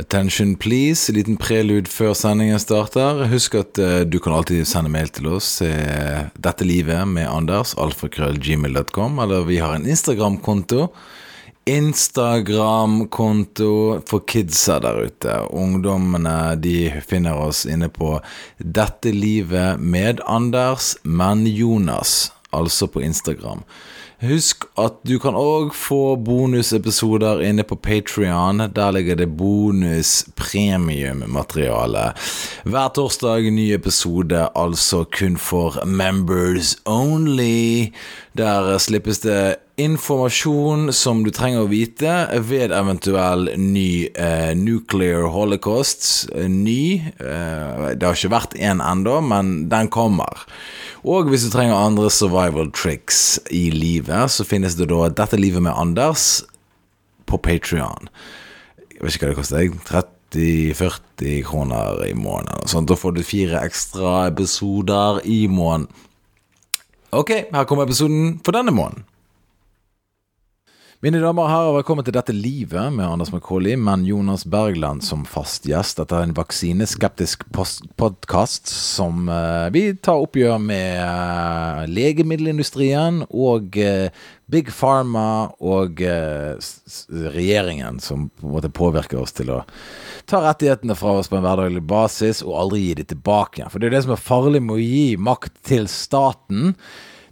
Attention please, liten prelude før sendingen starter. Husk at eh, du kan alltid sende mail til oss. eh, Dette livet med Anders, alfakrøllgmail.com, eller vi har en Instagram-konto. Instagram-konto for kidsa der ute. Ungdommene de finner oss inne på Dette livet med Anders, men Jonas. Altså på Instagram. Husk at du kan òg få bonusepisoder inne på Patrion. Der ligger det bonus-premium-materiale. Hver torsdag ny episode, altså kun for members only. Der slippes det informasjon som du trenger å vite ved eventuell ny eh, nuclear holocaust. Ny. Eh, det har ikke vært en ennå, men den kommer. Og hvis du trenger andre survival tricks i livet, så finnes det da Dette livet med Anders på Patrion. Jeg vet ikke hva det koster. jeg. 30-40 kroner i måneden. Sånn, da får du fire ekstra episoder i måneden. Ok, her kommer episoden for denne måneden. Mine damer og herrer, velkommen til Dette livet med Anders Macauley, men Jonas Bergland som fast gjest. Dette er en vaksineskeptisk podkast som eh, vi tar oppgjør med eh, legemiddelindustrien og eh, Big Pharma og eh, s- s- regjeringen, som på en måte påvirker oss til å ta rettighetene fra oss på en hverdaglig basis og aldri gi de tilbake igjen. For det er jo det som er farlig med å gi makt til staten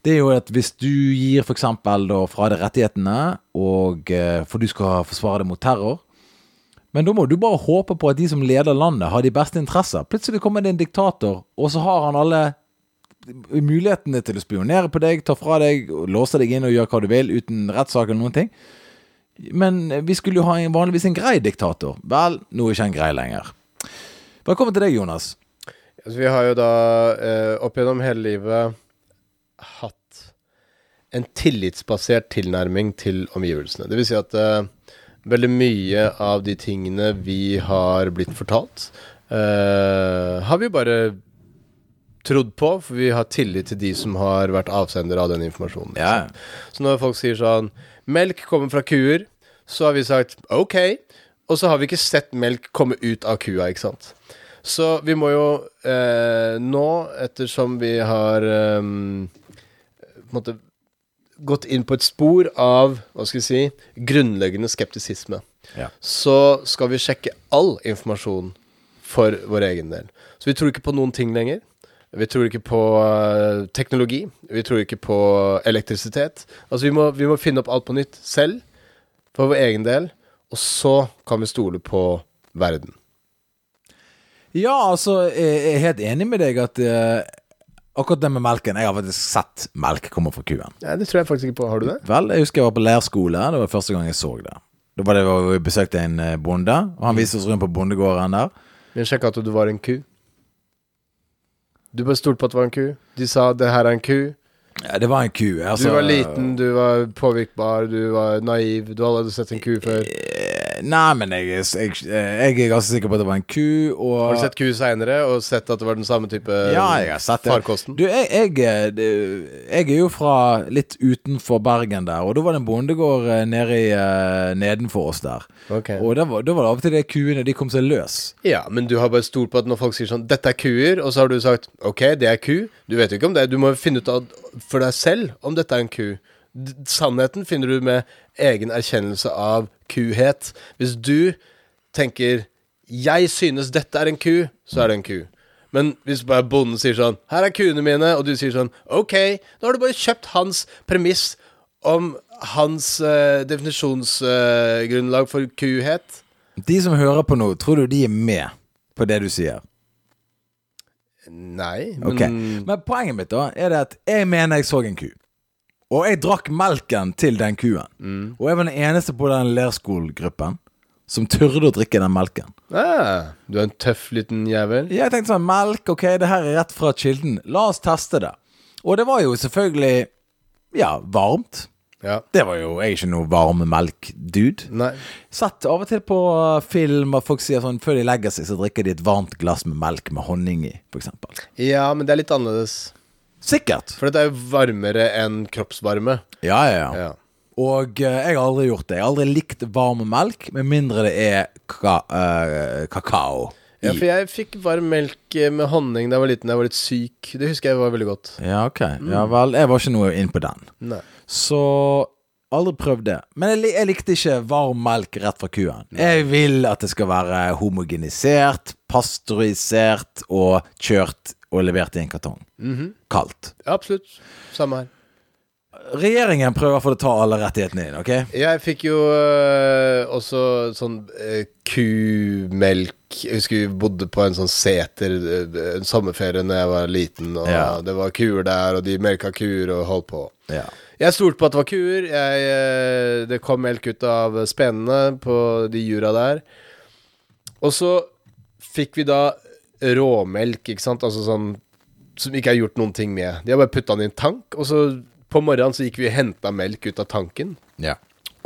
det er jo at hvis du gir for eksempel da fra deg rettighetene, og, eh, for du skal forsvare deg mot terror, men da må du bare håpe på at de som leder landet har de beste interesser. Plutselig kommer det en diktator, og så har han alle mulighetene til å spionere på deg, ta fra deg, og låse deg inn og gjøre hva du vil uten rettssak eller noen ting. Men vi skulle jo ha en, vanligvis en grei diktator. Vel, nå er ikke han grei lenger. Velkommen til deg, Jonas. Altså, vi har jo da eh, opp gjennom hele livet hatt en tillitsbasert tilnærming til omgivelsene. Det vil si at eh, veldig mye av de tingene vi har blitt fortalt, eh, har vi bare trodd på, for vi har tillit til de som har vært avsendere av den informasjonen. Ja, Så når folk sier sånn Melk kommer fra kuer, så har vi sagt ok. Og så har vi ikke sett melk komme ut av kua, ikke sant. Så vi må jo eh, nå, ettersom vi har eh, på en måte gått inn på et spor av hva skal vi si, grunnleggende skeptisisme, Ja. så skal vi sjekke all informasjon for vår egen del. Så vi tror ikke på noen ting lenger. Vi tror ikke på eh, teknologi. Vi tror ikke på elektrisitet. Altså vi må, vi må finne opp alt på nytt selv, for vår egen del, og så kan vi stole på verden. Ja, altså, jeg er helt enig med deg at eh, akkurat det med melken Jeg har faktisk sett melk komme fra kuen. Nei, det tror jeg faktisk ikke på. Har du det? Vel, jeg husker jeg var på leirskole. Det var første gang jeg så det. Da var det vi besøkte en eh, bonde, og Mm. han viste oss rundt på bondegården der. Men sjekk at du var en ku. Du bare stolte på at det var en ku. De sa 'det her er en ku'. Ja, det var en ku. Du Altså, var liten, du var påvirkbar, du var naiv. Du hadde aldri sett en ku før. eh, Nei, men jeg, jeg, jeg er ganske sikker på at det var en ku, og Har du sett ku seinere og sett at det var den samme type ja, jeg har sett det. farkosten? Du, jeg, jeg, eh, det- jeg er jo fra litt utenfor Bergen der, og da var det en bondegård eh, nede i, eh, nedenfor oss der. Ok. Og da var, da var det av og til de kuene de kom seg løs. Ja, men du har bare stolt på at når folk sier sånn 'Dette er kuer', og så har du sagt 'Ok, det er ku'. Du vet jo ikke om det. Du må finne ut av for deg selv om dette er en ku. D sannheten finner du med egen erkjennelse av kuhet. Hvis du tenker 'Jeg synes dette er en ku', så er det en ku. Men hvis bare bonden sier sånn 'Her er kuene mine', og du sier sånn 'Ok', da har du bare kjøpt hans premiss om hans eh, definisjonsgrunnlag for kuhet. De som hører på nå, tror du de er med på det du sier? Nei, men Ok. Men poenget mitt da er det at jeg mener jeg så en ku. Og jeg drakk melken til den kuen. Og jeg var den eneste på den leirskolegruppen som turde å drikke den melken. Ah, du er en tøff liten jævel. Jeg tenkte sånn, melk, ok, det her er rett fra kilden. La oss teste det. Og det var jo selvfølgelig, ja, varmt. Ja. Det var jo, jeg er ikke noe varm melk-dude. Nei. Sett av og til på eh, film at folk sier sånn, før de legger seg, så drikker de et varmt glass med melk med honning i, for eksempel. Ja, men det er litt annerledes. Sikkert. For det er jo varmere enn kroppsvarme. Ja, ja, ja. Ja. Og eh, jeg har aldri gjort det. Jeg har aldri likt varm melk, med mindre det er ka eh, kakao. Ja, i. for jeg fikk varm melk eh, med honning da jeg var liten. da Jeg var litt syk. Det husker jeg var veldig godt. Ja, ok. Ja vel. Jeg var ikke noe inn på den. Nei. Så aldri prøvd det. Men jeg, li- jeg likte ikke varm melk rett fra kuen. Jeg vil at det skal være homogenisert, pasteurisert og kjørt og levert i en kartong. Kaldt. Ja, absolutt. Samme her. Regjeringen prøver å få det ta alle rettighetene inn, OK? Jeg fikk jo eh, også sånn eh, kumelk Jeg husker vi bodde på en sånn seter eh, en sommerferie da jeg var liten, og Ja. det var kuer der, og de melka kuer og holdt på. Ja. Jeg stolte på at det var kuer. Jeg, eh, det kom melk ut av spenene på de jura der. Og så fikk vi da råmelk, ikke sant? Altså sånn som ikke er gjort noen ting med. De har bare putta den i en tank, og så på morgenen så gikk vi og henta melk ut av tanken. ja.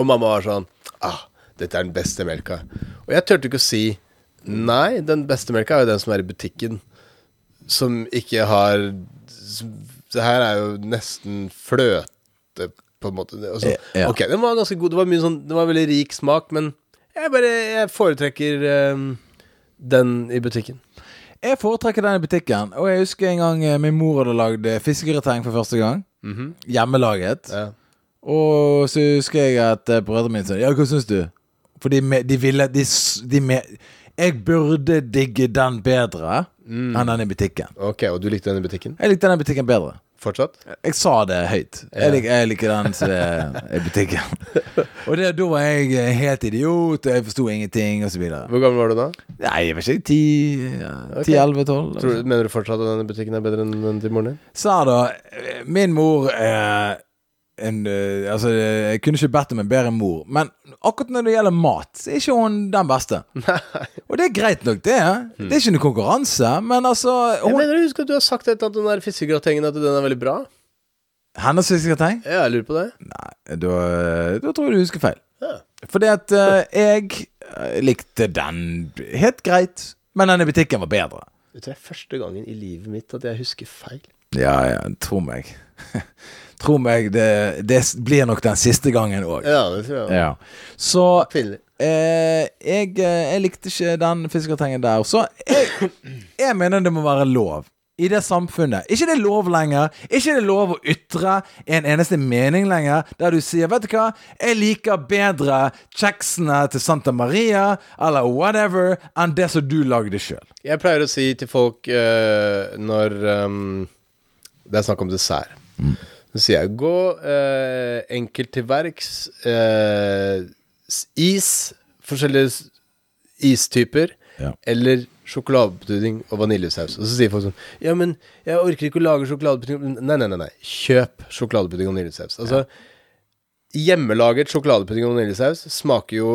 Og mamma var sånn ah, Dette er den beste melka. Og jeg turte ikke å si nei, den beste melka er jo den som er i butikken. Som ikke har Det her er jo nesten fløte, på en måte. Og så- Ja. Ok, den var ganske god. Det var, mye sånn, det var veldig rik smak, men jeg bare jeg foretrekker eh, den i butikken. Jeg foretrekker den i butikken, og jeg husker en gang eh, min mor hadde lagd eh, fiskegrateng for første gang. Hjemmelaget. Ja. Og så husker jeg at eh, brødrene mine sa Ja, hva syns du? For de, me- de ville de, s- de me, Jeg burde digge den bedre enn den i butikken. Ok, Og du likte den i butikken? Jeg likte den i butikken bedre. Fortsatt? Jeg sa det høyt. Jeg, lik, jeg liker den som er i butikken. og det, da var jeg eh, helt idiot, og jeg forsto ingenting, og så videre. Hvor gammel var du da? Nei, jeg vet ikke. 10, ja, 10 11, 12? Tror, du- mener du fortsatt at denne butikken er bedre enn den til moren din? Så her da, eh, min mor eh, en, eh, altså, eh, Jeg kunne ikke bedt om en bedre mor, men akkurat når det gjelder mat, så er ikke hun den beste. Og det er greit nok, det. Hmm. Det er ikke noe konkurranse, men altså Jeg hun, mener, jeg husker at du har sagt et eller annet om den der fiskegratengen at den er veldig bra. Hennes fiskegrateng? Ja, jeg lurer på det. Nei, da, da tror jeg du husker feil. Ja. Fordi at eh, jeg eh, likte den helt greit, men den i butikken var bedre. Det tror jeg er første gangen i livet mitt at jeg husker feil. Ja, ja, tro meg. tro meg, det, det blir nok den siste gangen òg. Ja, det tror jeg. Ja. Så Pinlig. Eh, jeg, eh, jeg likte ikke den fiskegratengen der. Så jeg, jeg mener det må være lov. I det samfunnet. Ikke det er lov lenger. Ikke det er lov å ytre en eneste mening lenger, der du sier 'Vet du hva, jeg liker bedre kjeksene til Santa Maria' eller whatever, enn det som du lagde sjøl. Jeg pleier å si til folk eh, når ehm, det er snakk om dessert Så sier jeg gå eh, enkelt til verks. eh, s- is, forskjellige s- istyper, Ja. eller sjokoladepudding og vaniljesaus. Og så sier folk sånn Ja, men jeg orker ikke å lage sjokoladepudding Nei, nei, nei. nei. Kjøp sjokoladepudding og vaniljesaus. Altså, hjemmelaget sjokoladepudding og vaniljesaus smaker jo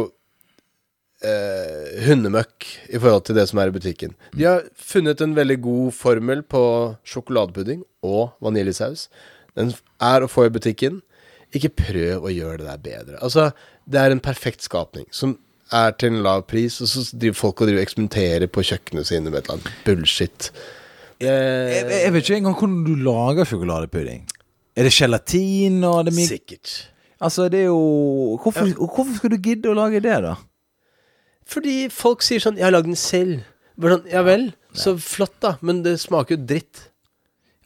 eh, hundemøkk i forhold til det som er i butikken. De har funnet en veldig god formel på sjokoladepudding og vaniljesaus. Den er å få i butikken. Ikke prøv å gjøre det der bedre. Altså, det er en perfekt skapning som er til en lav pris, og så driver folk og driver og eksperimenterer på kjøkkenene sine med et eller annet bullshit. Jeg, Eh, jeg, jeg vet ikke engang hvordan du lager sjokoladepudding. Er det gelatin og det er mye sikkert. Altså, det er jo hvorfor, hvorfor skal du gidde å lage det, da? Fordi folk sier sånn 'Jeg har lagd den selv'. Bare sånn, ja vel, så flott, da, men det smaker jo dritt.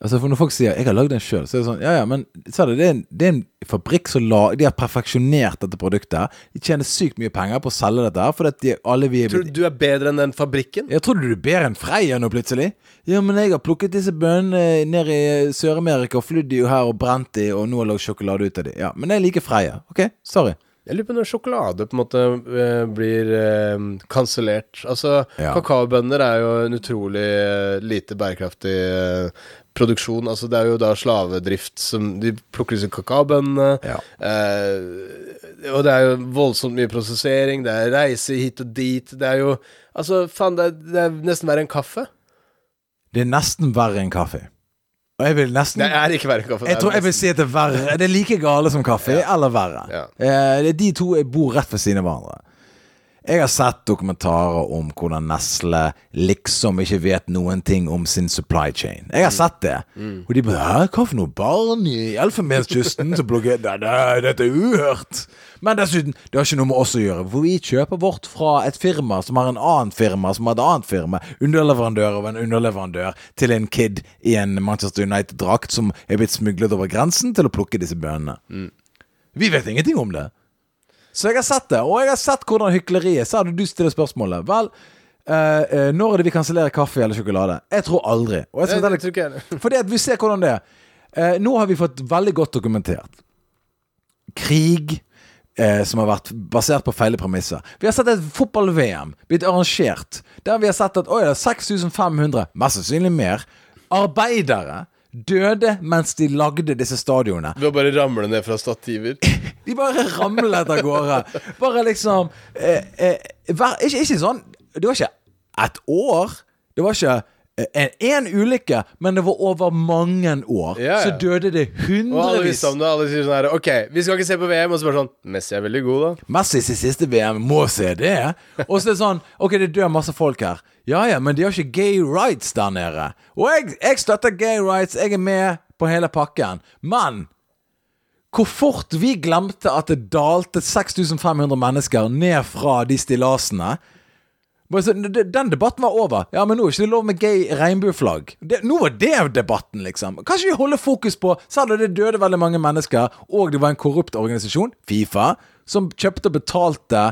Altså for Når folk sier 'jeg har lagd den sjøl', så er det sånn Ja ja, men sa du, det, er en, det er en fabrikk som la, De har perfeksjonert dette produktet. De tjener sykt mye penger på å selge dette her, fordi at de, alle vi er Tror du du er bedre enn den fabrikken? jeg trodde du er bedre enn Freia nå, plutselig. Ja, men jeg har plukket disse bønnene ned i eh, Sør-Amerika og flydd de jo her og brent de, og nå har jeg lagd sjokolade ut av de. Ja, men jeg liker Freia. OK, sorry. Jeg lurer på når sjokolade på en måte eh, blir eh, kansellert. Altså, Ja. kakaobønner er jo en utrolig eh, lite bærekraftig eh, produksjon. Altså, det er jo da slavedrift som De plukker disse kakaobønnene. Ja. eh, og det er jo voldsomt mye prosessering. Det er reise hit og dit. Det er jo Altså, faen, det er, det er nesten verre enn kaffe. Det er nesten verre enn kaffe. Og jeg vil nesten Det er ikke verre enn kaffe. det Mm. Jeg er tror jeg vil si at det er verre. Det er like gale som kaffe, eller verre. Ja. Eh, det er de to jeg bor rett ved siden av hverandre. Jeg har sett dokumentarer om hvordan Nestle liksom ikke vet noen ting om sin supply chain. Jeg har sett det. Og de bare Hæ, hva for noe barn i Elfenbenskysten som blogger Nei, nei, dette er uhørt! Men dessuten, det har ikke noe med oss å gjøre. For vi kjøper vårt fra et firma som har en annen firma som har et annet firma. Underleverandør av en underleverandør til en kid i en Manchester United-drakt som er blitt smuglet over grensen til å plukke disse bønnene. Vi vet ingenting om det. Så jeg har sett det, og jeg har sett hvordan hykleriet Så hadde du stilt spørsmålet. Vel, eh, eh, når er det vi kansellerer kaffe eller sjokolade? Jeg tror aldri. Og jeg skal Nei, det fortelle- tror ikke jeg heller. Fordi at vi ser hvordan det er. Eh, nå har vi fått veldig godt dokumentert krig eh, som har vært basert på feile premisser. Vi har sett et fotball-VM blitt arrangert, der vi har sett at oi, det er 6500, mest sannsynlig mer, arbeidere døde mens de lagde disse stadionene. Ved å bare ramle ned fra stativer. De bare ramlet av gårde. Bare liksom eh, eh, vær, ikke, ikke sånn Det var ikke et år. Det var ikke én ulykke, men det var over mange år. Ja, ja. Så døde det Og alle hundrevis. visste om det. Alle sier sånn her OK, vi skal ikke se på VM. Og så bare sånn Messi er veldig god, da. Messi sin siste VM må se det. Og så er det sånn Ok, det dør masse folk her. Ja ja, men de har ikke gay rights der nede. Og jeg, jeg støtter gay rights. Jeg er med på hele pakken. Men hvor fort vi glemte at det dalte 6500 mennesker ned fra de stillasene. Bare så- d- Den debatten var over. Ja, men nå er det ikke lov med gay regnbueflagg. Det- Nå var det debatten, liksom. Kanskje vi holder fokus på Selv om det døde veldig mange mennesker, og det var en korrupt organisasjon, Fifa, som kjøpte og betalte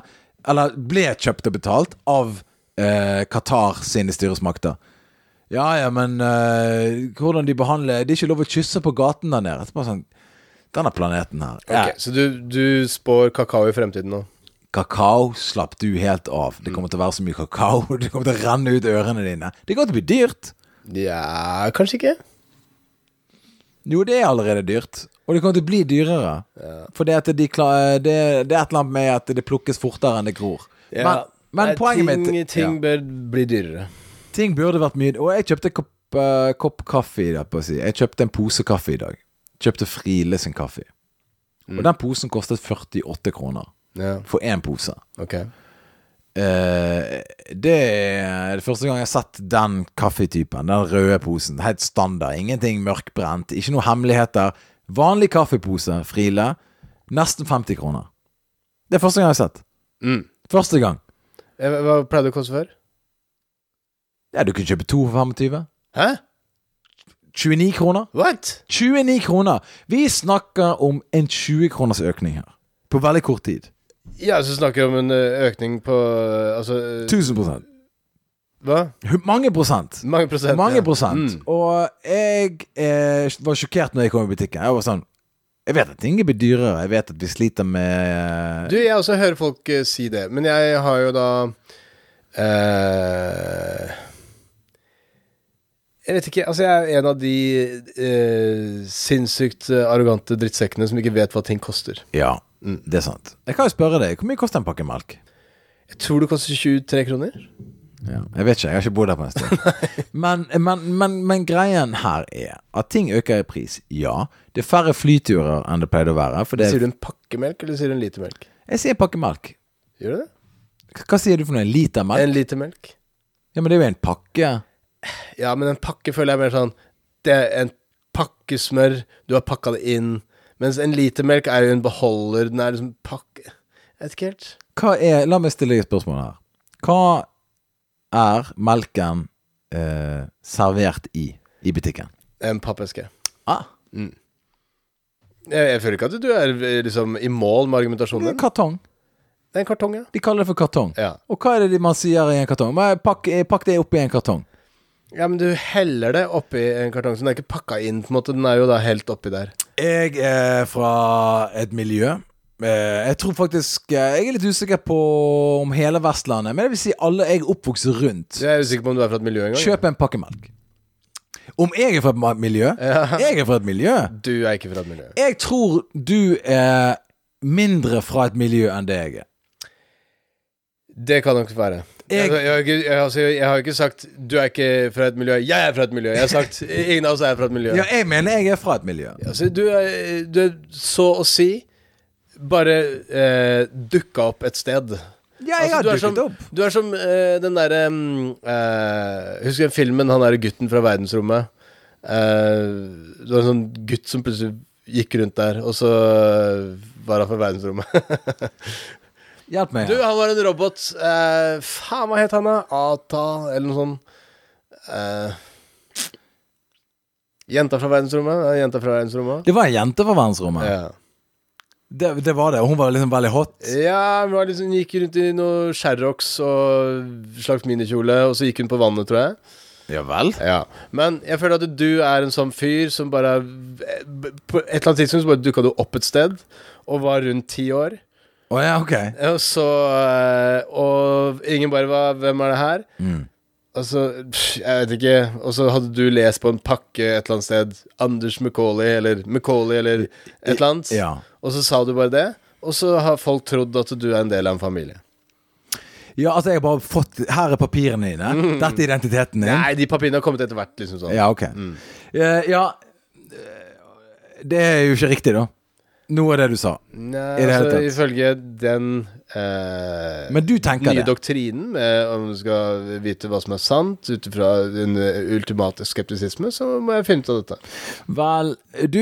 Eller ble kjøpt og betalt av eh, Qatar sine styresmakter. Ja ja, men eh, hvordan de behandler Det er ikke lov å kysse på gaten der nede. Det er bare sånn Denne planeten her. Ok, er- Så du, du spår kakao i fremtiden nå? Kakao slapp du helt av. Det kommer til å være så mye kakao. Det kommer til å renne ut ørene dine. Det kommer til å bli dyrt. Ja, kanskje ikke. Jo, det er allerede dyrt. Og det kommer til å bli dyrere. For det, at de kla- det, det er et eller annet med at det plukkes fortere enn det gror. Men, men Nei, poenget ting, mitt Ting ja, bør bli dyrere. ting burde vært mye Og jeg kjøpte en kopp, eh, kopp kaffe i dag. på å si. Jeg kjøpte en pose kaffe i dag. Kjøpte Friele sin kaffe. Og den posen kostet 48 kroner. Ja, For én pose. ok. Eh, det er det første gang jeg har sett den kaffetypen. Den røde posen. Helt standard. Ingenting mørkbrent. Ikke noe hemmeligheter. Vanlig kaffepose, Friele. Nesten 50 kroner. Det er første gang jeg har sett. Mm. Første gang. Eh, Hva hva pleide det å koste før? Ja, du kunne kjøpe to for 25. Hæ? 29 kroner. What? 29 kroner! Vi snakker om en 20 kroners økning her. På veldig kort tid. Ja, så snakker vi om en ø, økning på ø, Altså ø, 1000 Hva? Hu- Mange prosent. Mange prosent? Mange ja. prosent. Mm. Og jeg eh, var sjokkert når jeg kom i butikken. Jeg var sånn Jeg vet at ting blir dyrere. Jeg vet at vi sliter med Du, jeg også hører folk eh, si det, men jeg har jo da eh, Jeg vet ikke, altså jeg er en av de eh, sinnssykt eh, arrogante drittsekkene som ikke vet hva ting koster. Ja, det er sant. Jeg kan jo spørre deg, hvor mye koster en pakke melk? Jeg tror det koster 23 kroner. Ja, jeg vet ikke, jeg har ikke bodd der på en stund. men, men, men, men greien her er at ting øker i pris. Ja, det er færre flyturer enn det pleide å være. For det Sier er, du en pakke melk, eller sier du en liter melk? jeg sier pakke melk. Gjør du det? Hva- Hva sier du for noe? En liter melk? En liter melk? Ja, men det er jo en pakke. Ja, men en pakke føler jeg er mer sånn Det er en pakke smør, du har pakka det inn. Mens en liter melk er jo en beholder, den er liksom pakke Jeg vet ikke helt. Hva er, la meg stille deg et spørsmål her. Hva er melken eh, servert i i butikken? En pappeske. Ah, Jeg, jeg føler ikke at du er eh, liksom i mål det med er argumentasjonen. kartong. Det er en kartong, ja. De kaller det for kartong. ja. Og hva er det de- man sier i en kartong? Men Pakk, eh, pakk det oppi en kartong. Ja, Men du heller det oppi en kartong, så den er ikke pakka inn. på en måte Den er jo da helt oppi der. Jeg er fra et miljø eh, Jeg tror faktisk eh, Jeg er litt usikker på om hele Vestlandet, men det vil si alle jeg er oppvokst rundt. Jeg er usikker på om du er fra et miljø engang. Kjøp en pakke melk. Om jeg er fra et ma- miljø? Jeg er fra et miljø. Du er ikke fra et miljø. Jeg tror du er mindre fra et miljø enn det jeg er. Det kan nok være. Jeg- Jeg, jeg, har ikke- jeg, altså, jeg har ikke sagt 'du er ikke fra et miljø', 'jeg er fra et miljø'. Jeg har sagt 'ingen av oss er fra et miljø'. Ja, jeg mener jeg er fra et miljø. Altså, du, er, du er så å si bare eh, dukka opp et sted. Ja, jeg Altså, har du er dukket som- opp. Du er som eh, den derre mm, eh, Husker jeg filmen han derre gutten fra verdensrommet? Eh, det var en sånn gutt som plutselig gikk rundt der, og så eh, var han fra verdensrommet. Hjelp meg. Du, han var en robot. Eh, faen, hva het han, da? Ata, eller noe sånt. Eh, jenta fra verdensrommet? Ja, jenta fra verdensrommet. Det var en jente fra verdensrommet. Ja. Det, det var det. og Hun var liksom veldig hot. Ja, hun var liksom, gikk rundt i noe Sherrox og slags minikjole, og så gikk hun på vannet, tror jeg. Ja vel? Ja. Men jeg føler at du er en sånn fyr som bare eh, På et eller annet tidspunkt så bare dukka du opp et sted, og var rundt ti år. Å ja, ok. Og så eh, Og ingen bare var 'Hvem er det her?' Mm. Og så pff, Jeg vet ikke. Og så hadde du lest på en pakke et eller annet sted. Anders Macauley eller Macauley eller et eller annet. Ja. Og så sa du bare det. Og så har folk trodd at du er en del av en familie. ja, altså, jeg har bare fått Her er papirene dine. Dette er identiteten din. Mm. Nei, de papirene har kommet etter hvert, liksom sånn. Ja, ok. Eh, ja eh, Det er jo ikke riktig, da. Noe av det du sa. Nei, I det hele altså, tatt. ifølge den eh, Men du tenker nye det. doktrinen med om du skal vite hva som er sant, ut ifra den eh, ultimate skeptisisme, så må jeg finne ut av dette. Vel, du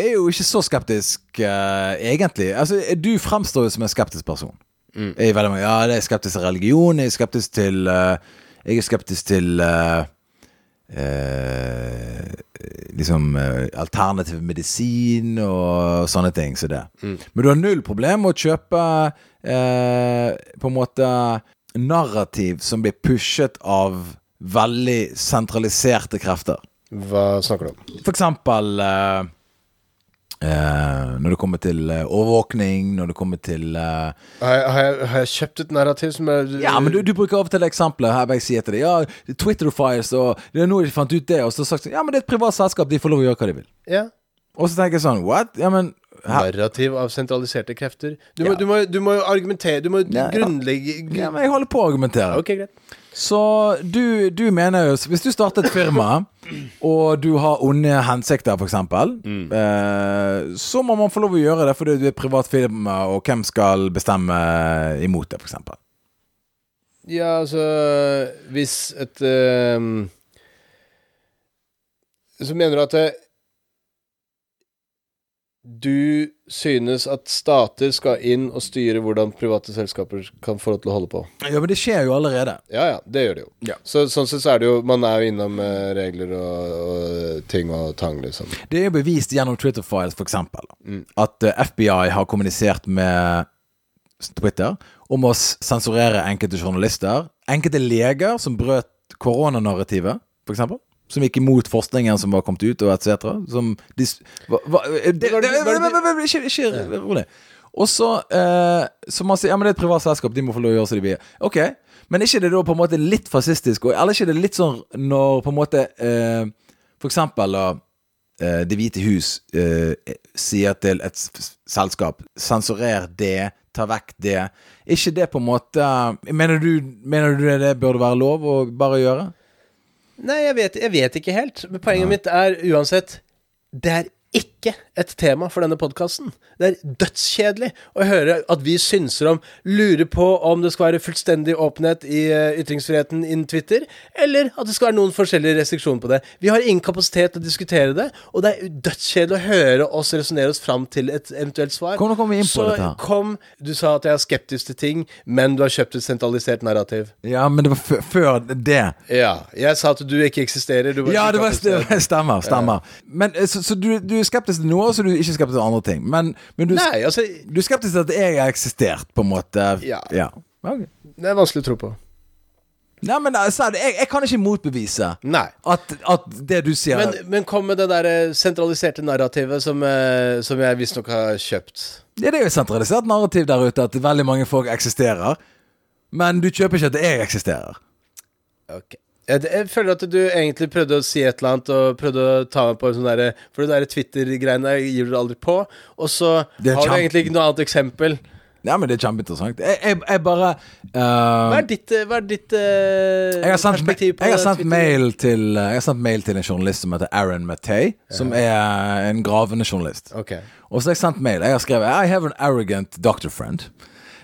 er jo ikke så skeptisk, eh, egentlig. Altså, du fremstår jo som en skeptisk person. Jeg er veldig mange, ja, det er skeptisk til religion, jeg er skeptisk til eh, Jeg er skeptisk til eh, eh, liksom eh, alternativ medisin og sånne ting som det. Men du har null problem med å kjøpe eh, på en måte narrativ som blir pushet av veldig sentraliserte krefter. Hva snakker du om? For eksempel eh, eh, når det kommer til eh, overvåkning, når det kommer til eh, Har jeg, har jeg, har jeg kjøpt et narrativ som er Ja, men du, du bruker av og til eksempler her hvor jeg sier til deg Ja, Twitter-files og det er nå de fant ut det, og så har jeg sagt sånn, Ja, men det er et privat selskap, de får lov å gjøre hva de vil. Ja. Og så tenker jeg sånn What? Ja, men her, Narrativ av sentraliserte krefter. Du må, Ja. du må, du må jo argumentere Du må Ja, ja. grunnlegge gr- ja, men jeg holder på å argumentere. Ok, greit. Så du, du mener jo Hvis du starter et firma, og du har onde hensikter, f.eks., eksempel eh, så må man få lov å gjøre det fordi du er et privat firma, og hvem skal bestemme imot det, f.eks.? Ja, altså Hvis et ehm, Så mener du at eh, du synes at stater skal inn og styre hvordan private selskaper kan få lov til å holde på? Ja, men det skjer jo allerede. Ja, ja, det gjør det jo. Ja. Så, sånn sett så er det jo Man er jo innom eh, regler og, og ting og tang, liksom. Det er jo bevist gjennom Twitter Files, f.eks., Mm. at eh, FBI har kommunisert med Twitter om å s- sensurere enkelte journalister, enkelte leger som brøt koronanarrativet, f.eks. Som gikk imot forskningen som var kommet ut, og etc. Som de s- hva, hva, eh, det, det, Var det- det- var det- det- det- Ikke, ikke rolig. Og så eh, Så man sier ja, men det er et privat selskap, de må få lov å gjøre som de vil. Ok, men er ikke det da på en måte litt fascistisk? Og, eller ikke det litt sånn når på en måte eh, For eksempel da eh, Det hvite hus eh, sier til et s- s- selskap Sensurer det, ta vekk det. Er ikke det på en måte Mener du, mener du det, det burde være lov å bare gjøre? Nei, jeg vet, jeg vet ikke helt. Men poenget mitt er uansett Det er ikke et tema for denne podkasten. Det er dødskjedelig å høre at vi synser om Lurer på om det skal være fullstendig åpenhet i eh, ytringsfriheten innen Twitter, eller at det skal være noen forskjellige restriksjoner på det. Vi har ingen kapasitet til å diskutere det, og det er dødskjedelig å høre oss resonnere oss fram til et eventuelt svar. Hvordan kommer vi inn på Så dette her? kom Du sa at jeg er skeptisk til ting, men du har kjøpt et sentralisert narrativ. Ja, men det var fø- før det. Ja. Jeg sa at du ikke eksisterer. Du bare Ja, det var, ikke eksisterer. det stemmer. stemmer. Men, eh, så så du, du er skeptisk til noe, og så er du ikke skeptisk til andre ting. Men, men du, Nei, altså du er skeptisk til at jeg har eksistert, på en måte. Ja. Ok. Det er vanskelig å tro på. Nei, men altså, jeg, jeg kan ikke motbevise Nei. at, at det du sier Men, men kom med det der eh, sentraliserte narrativet som, eh, som jeg visstnok har kjøpt. Ja, det er jo et sentralisert narrativ der ute at veldig mange folk eksisterer. Men du kjøper ikke at jeg eksisterer. Jeg, jeg føler at du egentlig prøvde å si et eller annet og prøvde å ta meg på en sånn derre For det der Twitter-greiene gir du aldri på. Og så Det er har du kjempe- egentlig ikke noe annet eksempel. Ja, men det er kjempeinteressant. Jeg, jeg, jeg bare eh, Hva er ditt, eh, hva er ditt eh, jeg har sendt, perspektiv på jeg har sendt Twitter? mail til eh, Jeg har sendt mail til en journalist som heter Aaron Mattei, som er en gravende journalist. Ok. Og så har jeg sendt mail. Jeg har skrevet I have an arrogant doctor friend.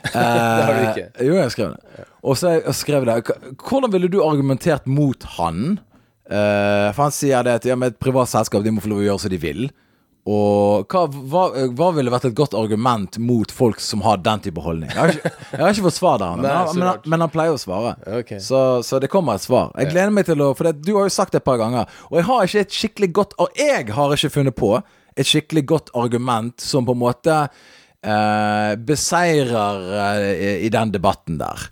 det har du ikke. Jo, jeg skrev det. Og så jeg- jeg skrev det "K- Hvordan ville du argumentert mot han? Eh, for han sier det at ja, med et privat selskap de må få lov å gjøre som de vil. Og hva, hva, hva ville vært et godt argument mot folk som har den type holdning? Jeg har ikke, jeg har ikke fått svar der, men, Nei, han, så men, han, rart. men han pleier å svare. Ok. Så, så det kommer et svar. Jeg gleder meg til å For det, du har jo sagt det et par ganger, og jeg har ikke et skikkelig godt Og jeg har ikke funnet på et skikkelig godt argument som på en måte eh, beseirer eh, i- i den debatten der.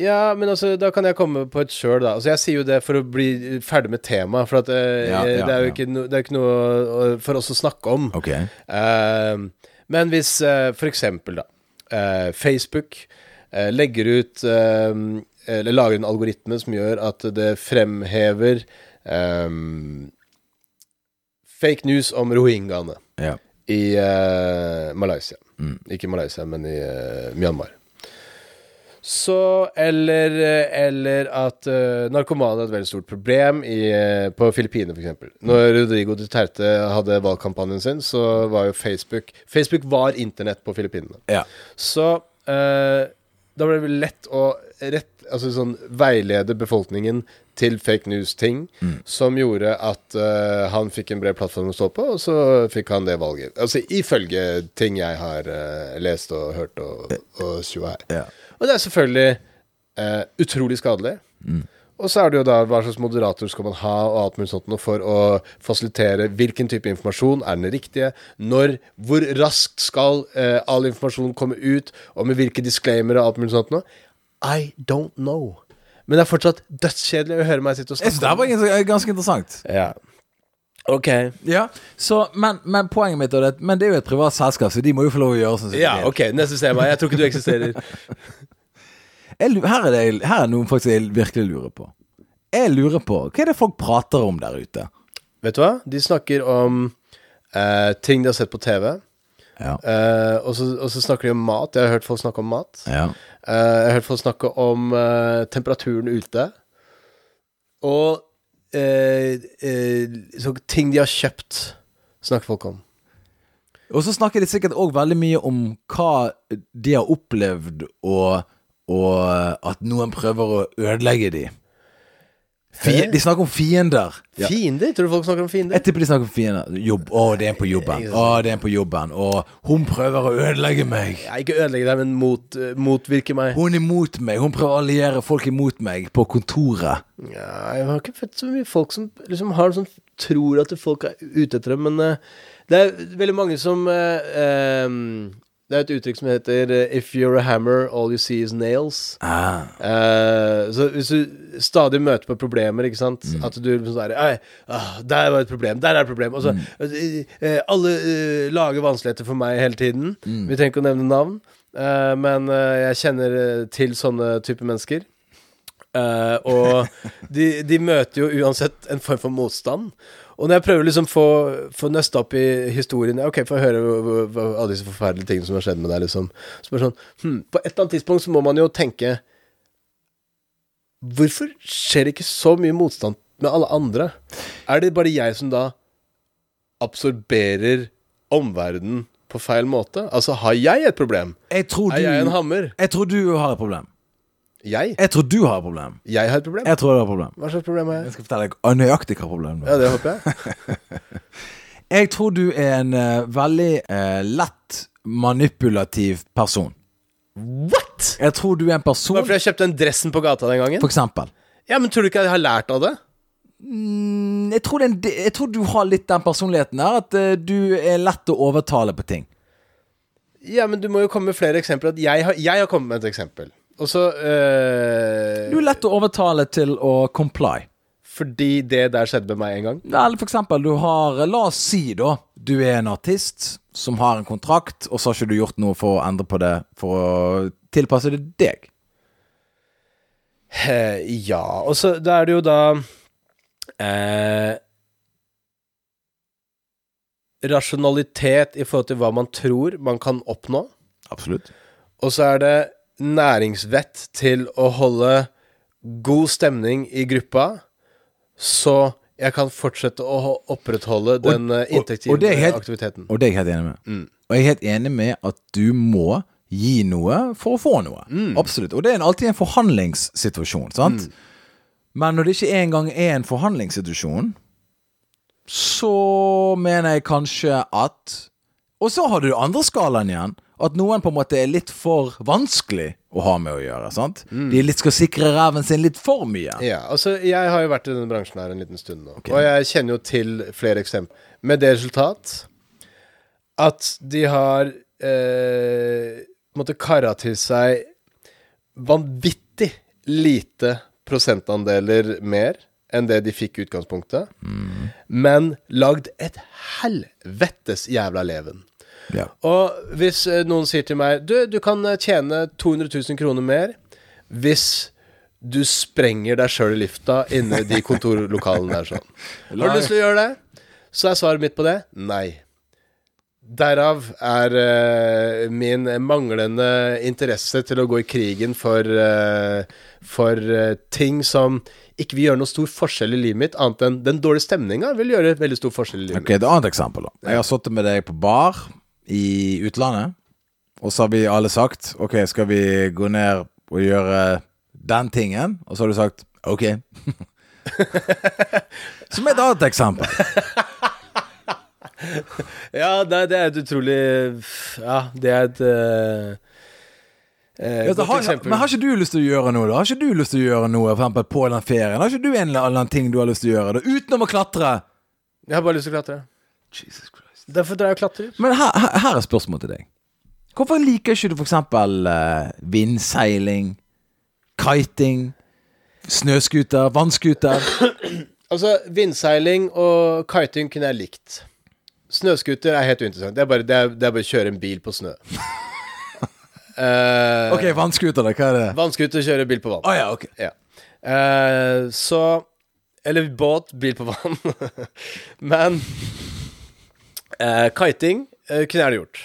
Ja, men altså, da kan jeg komme på et sjøl, da. Altså, jeg sier jo det for å bli ferdig med temaet, for at, eh, Ja, ja, det er jo ja. ikke, no, det er ikke noe å- for oss å snakke om. Ok. Eh, men hvis eh, for eksempel, da, eh, Facebook eh, legger ut eh, Eller lager en algoritme som gjør at det fremhever eh, fake news om rohingyaene Ja. i eh, Malaysia. Mm. Ikke Malaysia, men i eh, Myanmar. Så Eller, eh, eller at eh, narkomane er et veldig stort problem i, eh, på Filippinene, f.eks. Når Rodrigo Duterte hadde valgkampanjen sin, så var jo Facebook Facebook var internett på Filippinene. ja. Så eh, da ble det vel lett å rett, altså sånn, veilede befolkningen til fake news-ting, som gjorde at eh, han fikk en bred plattform å stå på, og så fikk han det valget. Altså ifølge ting jeg har eh, lest og hørt og, og sjua her. Ja. Og det er selvfølgelig eh, utrolig skadelig. Og så er det jo da hva slags moderator skal man ha og alt mulig sånt noe for å fasilitere hvilken type informasjon, er den riktige, når, hvor raskt skal eh, all informasjon komme ut, og med hvilke disclaimer og alt mulig sånt noe. I don't know. Men det er fortsatt dødskjedelig å høre meg sitte og Jeg synes snakke det var gans- ganske interessant. Ja. Ok. Ja, så, men, men poenget mitt er at Men det er jo et privat selskap, så de må jo få lov å gjøre sånn som de Ja, vil. ok, neste tema. Jeg tror ikke du eksisterer. Jeg lu- her, er det, her er noe faktisk jeg virkelig lurer på. Jeg lurer på Hva er det folk prater om der ute? Vet du hva? De snakker om eh, ting de har sett på TV. Ja. Eh, og, så, og så snakker de om mat. Jeg har hørt folk snakke om mat. ja. Eh, jeg har hørt folk snakke om eh, temperaturen ute. Og eh, eh, så ting de har kjøpt, snakker folk om. Og så snakker de sikkert òg veldig mye om hva de har opplevd, og, og at noen prøver å ødelegge de. Fie, Hæ? de snakker om fiender. Ja. Fiender? Tror du folk snakker om fiender? Jeg tipper de snakker om fiender. Jobb. Å, det er en på jobben. Å, det er en på jobben. Og hun prøver å ødelegge meg. Ja, ikke ødelegge deg, men mot, eh, motvirke meg. Hun er imot meg. Hun prøver å alliere folk imot meg på kontoret. Ja, jeg har ikke fått så mye folk som liksom har sånn tror at folk er ute etter dem, men eh, det er veldig mange som eh, ehm, Det er et uttrykk som heter eh, 'If you're a hammer, all you see is nails'. Ah. Eh, så hvis du stadig møter på problemer, ikke sant At du liksom sånn der, «Ei, ah, Der var et problem, der er et problem. Og så eh, eh, Alle eh, lager vanskeligheter for meg hele tiden. Vi trenger ikke å nevne navn, eh, men eh, jeg kjenner eh, til sånne type mennesker. Eh, og de, de møter jo uansett en form for motstand. Og når jeg prøver liksom få, få nøsta opp i historien ja, Ok, få høre hva- hva- hva- alle disse forferdelige tingene som har skjedd med deg, liksom. Så bare sånn hm, På et eller annet tidspunkt så må man jo tenke Hvorfor skjer det ikke så mye motstand med alle andre? Er det bare jeg som da absorberer omverdenen på feil måte? Altså, har jeg et problem? Jeg tror Er jeg en du hammer? Jeg tror du har et problem. Jeg? Jeg tror du har et problem. Jeg har et problem? Jeg tror du har et problem. Hva slags problem har jeg? Jeg skal fortelle deg nøyaktig hva problemet er. Ja, det håper jeg. Jeg tror du er en eh, veldig eh, lett manipulativ person. What?! Jeg tror du er en person Bare fordi jeg kjøpte den dressen på gata den gangen? For eksempel. Ja, men tror du ikke jeg har lært av det? Mm, Jeg tror, det er en, de- jeg tror du har litt den personligheten der, at eh, du er lett å overtale på ting. Ja, men du må jo komme med flere eksempler. At jeg har, jeg har kommet med et eksempel. Og så øh, Du er lett å overtale til å comply. Fordi det der skjedde med meg en gang. Eller for eksempel, du har eh, La oss si, da, du er en artist som har en kontrakt, og så har ikke du gjort noe for å endre på det, for å tilpasse det deg. Eh, ja, og så da er det jo da eh, Rasjonalitet i forhold til hva man tror man kan oppnå. Absolutt. Og så er det næringsvett til å holde god stemning i gruppa, så jeg kan fortsette å ho- opprettholde den eh, og- og det inntektsgivende er helt- aktiviteten. Og det er jeg helt enig med. Og jeg er helt enig med at du må gi noe for å få noe. Absolutt. Og det er en- alltid en forhandlingssituasjon, sant? Men når det ikke engang er en forhandlingssituasjon, så mener jeg kanskje at Og så har du andre skalaen igjen. At noen på en måte er litt for vanskelig å ha med å gjøre. sant? De litt skal sikre ræven sin litt for mye. Ja, altså Jeg har jo vært i denne bransjen her en liten stund nå. Og jeg kjenner jo til flere eksempler. Med det resultat at de har eh, måtte kara til seg vanvittig lite prosentandeler mer enn det de fikk i utgangspunktet, men lagd et helvetes jævla leven. Ja. Og hvis eh, noen sier til meg Du, du kan eh, tjene 200 000 kroner mer hvis du sprenger deg sjøl i lifta inne i de kontorlokalene der sånn. Har du lyst til å gjøre det? Så er svaret mitt på det nei. Derav er eh, min manglende interesse til å gå i krigen for, eh, for eh, ting som ikke vil gjøre noe stor forskjell i livet mitt, annet enn den dårlige stemninga vil gjøre veldig stor forskjell i livet Ok, Et annet eksempel. da Jeg har sittet med deg på bar i utlandet, og så har vi alle sagt OK, skal vi gå ned og gjøre den tingen? Og så har du sagt OK. Som et annet eksempel. mitt. Ja, nei, det er et utrolig Ja, det er et eh, eh, Ja, så godt har, eksempel. men har ikke du lyst til å gjøre noe, da? Har ikke du lyst til å gjøre noe for eksempel på den ferien? Har ikke du en eller annen ting du har lyst til å gjøre, da? Utenom å klatre? Jeg har bare lyst til å klatre. Jesus Christ. Derfor drar jeg og klatrer. Men her, her, her er spørsmålet til deg. Hvorfor liker ikke du for eksempel eh, vindseiling, kiting, snøskuter, vannskuter? Altså, vindseiling og kiting kunne jeg likt. Snøskuter er helt uinteressant. Det er bare, det er, det er bare å kjøre en bil på snø. uh, Ok, vannskuter, da. Hva er det? Vannskuter kjøre bil på vann. Å ja, ok. Ja. Eh, så Eller båt, bil på vann. Men eh, kiting eh, kunne jeg ha gjort.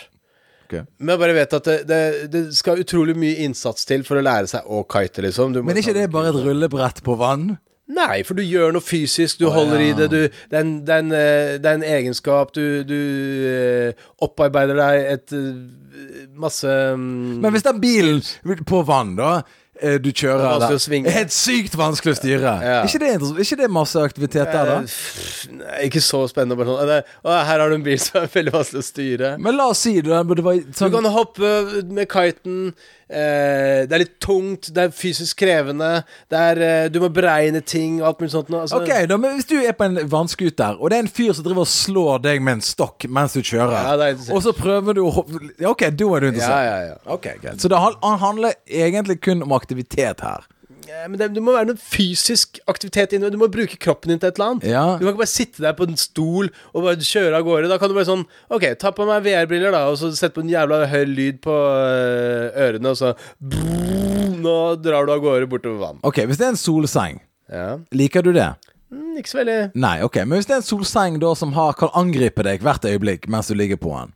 Ok. Men jeg bare vet at det, det, det skal utrolig mye innsats til for å lære seg å kite, liksom. Du må Men er ta- ikke det bare et rullebrett på vann? Nei, for du gjør noe fysisk, du holder i det, du, det, er en, det, er en, eh, det er en egenskap, du, du eh, opparbeider deg et eh, masse mm, Men hvis den bilen på vann, da eh, du kjører Det er vanskelig der, å svinge. er Helt sykt vanskelig å styre. Ja. Er ikke det, interess- er ikke det masse aktivitet der, da? eh, pff, nei, Ikke så spennende, bare sånn eh, Å, her har du en bil som er veldig vanskelig å styre. Men la oss si det, det var Du sånn kan hoppe med kiten. Eh, det er litt tungt, det er fysisk krevende. Det er, eh, du må beregne ting og alt mulig sånt. nå, Altså, Ok, da, men Hvis du er på en vannskuter, og det er en fyr som driver og slår deg med en stokk mens du kjører, Ja, det er interessant. og så prøver du å hoppe Ja, Ok, da er du Ja, interessert. ja, ja. Ok, greit Så det han- han handler egentlig kun om aktivitet her. Eh, Men det, det må være noen fysisk aktivitet inni Du må bruke kroppen din til et eller annet. Ja. Du kan ikke bare sitte der på en stol og bare kjøre av gårde. Da kan du bare sånn Ok, ta på meg VR-briller, da, og så sett på en jævla høy lyd på øh, ørene, og så brrr, Nå drar du av gårde bortover vann. Ok, Hvis det er en solseng, Ja. liker du det? Mm, ikke så veldig Nei, ok, men hvis det er en solseng da som har, kan angripe deg hvert øyeblikk mens du ligger på den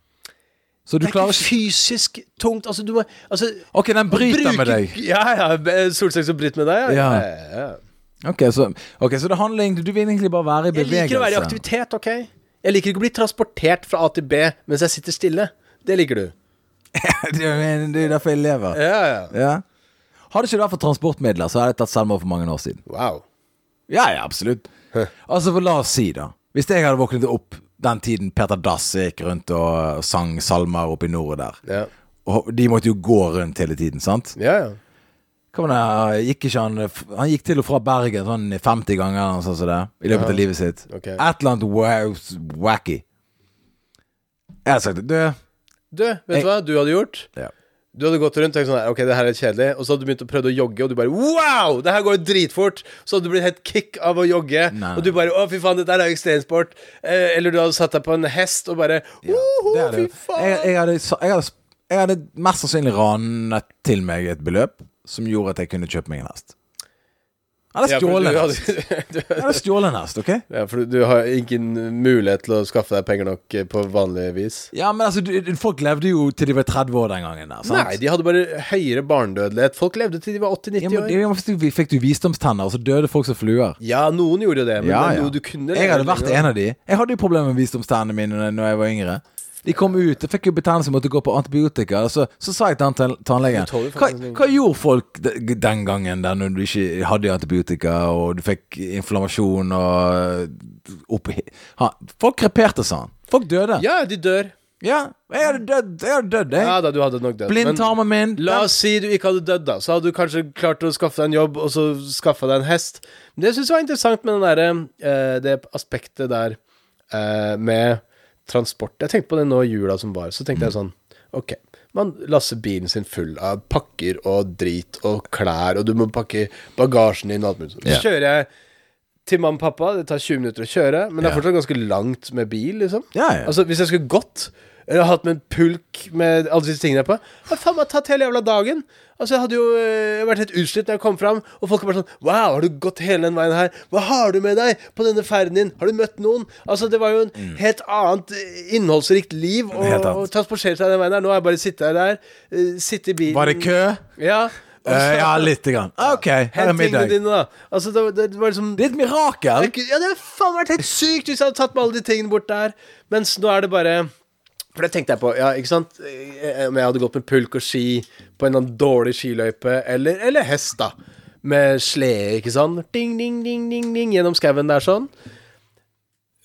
Så du Det er klarer ikke ikke fysisk tungt. Altså, du må Altså Ok, den bryter bruke- med deg. Ja, ja. b- Solseng som bryter med deg, Ja. ja, ja. Ok, så, ok, så det handler egentlig Du vil egentlig bare være i Jeg bevegelse. liker å være i aktivitet, OK? Jeg liker ikke å bli transportert fra A til B mens jeg sitter stille. Det liker du. det er det er derfor jeg lever. Ja, ja. Ja. Hadde ikke det vært for transportmidler, så hadde jeg tatt selvmord for mange år siden. Wow. Ja, ja, absolutt. Altså, for la oss si, da. Hvis jeg hadde våknet opp den tiden Peter Dass gikk rundt og sang salmer oppe i nord og der Ja. Og de måtte jo gå rundt hele tiden, sant? Ja, ja. Hva var det, gikk ikke han Han gikk til og fra Bergen sånn 50 ganger eller noe sånt som det, i løpet av livet sitt. ok. Et eller annet wa- wacky. Jeg hadde sagt det. Du, vet du hva du hadde gjort? Ja. Du hadde gått rundt og tenkt sånn her, Ok, det her er litt kjedelig. Og så hadde du begynt å prøve å jogge, og du bare Wow! Det her går jo dritfort! Så hadde du blitt helt kick av å jogge. Nei. Og du bare Å, fy faen, dette her er jo ekstremsport. Eh, eller du hadde satt deg på en hest og bare Woho, det er det. fy jo. faen! Jeg, jeg, hadde, sa- jeg, hadde, sp- jeg hadde mest sannsynlig ranet til meg et beløp som gjorde at jeg kunne kjøpe meg en hest. Eller Ja, for stjålet du en hest. hadde- du- Eller stjålet en hest, OK? Ja, for du har ingen mulighet til å skaffe deg penger nok eh, på vanlig vis. Ja, men altså, du- folk levde jo til de var 30 år den gangen. Der, sant? Nei, de hadde bare høyere barnedødelighet. Folk levde til de var ja, 80-90 men, år. ja, men fikk du- fikk du visdomstenner, og så døde folk som fluer. Ja, noen gjorde jo det, men det er noe du kunne Jeg leve hadde vært lenger av. en av de. Jeg hadde jo problemer med visdomstennene mine når jeg var yngre. De kom ut, jeg fikk jo betennelse, måtte gå på antibiotika. og Så, så sa jeg til han tann- tannlegen Du tåler hva, faktisk ikke- hva gjorde folk de- den gangen der når du ikke hadde antibiotika, og du fikk inflammasjon og opp, han, Folk kreperte, sa han. Folk døde. Ja, Ja, de dør. jeg hadde dødd, jeg. Hadde dødd, jeg. Ja da, du hadde nok dødd. men- Blindtarmen min. La den- oss si du ikke hadde dødd, da. Så hadde du kanskje klart å skaffe deg en jobb, og så skaffa deg en hest. Men det jeg syns var interessant med den derre, eh, det aspektet der eh, med transport Jeg tenkte på det nå i jula som var, så tenkte jeg sånn Ok, man lasser bilen sin full av pakker og drit og klær, og du må pakke bagasjen din og alt mulig sånt. Så Ja. kjører jeg til mamma og pappa, det tar 20 minutter å kjøre, men det er Ja. fortsatt ganske langt med bil, liksom. Ja, ja. Altså, hvis jeg skulle gått eller hatt med en pulk med alle disse tingene på Hva faen meg tatt hele jævla dagen? Altså, jeg hadde jo eh, vært helt utslitt når jeg kom fram, og folk var bare sånn Wow, har du gått hele den veien her? Hva har du med deg på denne ferden din? Har du møtt noen? Altså, det var jo en helt annet eh, innholdsrikt liv å Mm. Helt annet. å transportere seg den veien her. Nå er jeg bare sittet her der, eh, sitte i bilen Var det kø? Ja. og Eh, så- ja, lite grann. OK, her er Hent tingene middag. dine, da. Altså, det, var- det var liksom Det er et mirakel. det er ikke- Ja, det hadde faen vært helt sykt hvis jeg hadde tatt med alle de tingene bort der. Mens nå er det bare For det tenkte jeg på, ja, ikke sant. Eh, Om jeg hadde gått med pulk og ski på en eller annen dårlig skiløype, eller, eller hest, da. Med slede, ikke sant. Ding, ding, ding, ding, ding, gjennom skauen der sånn.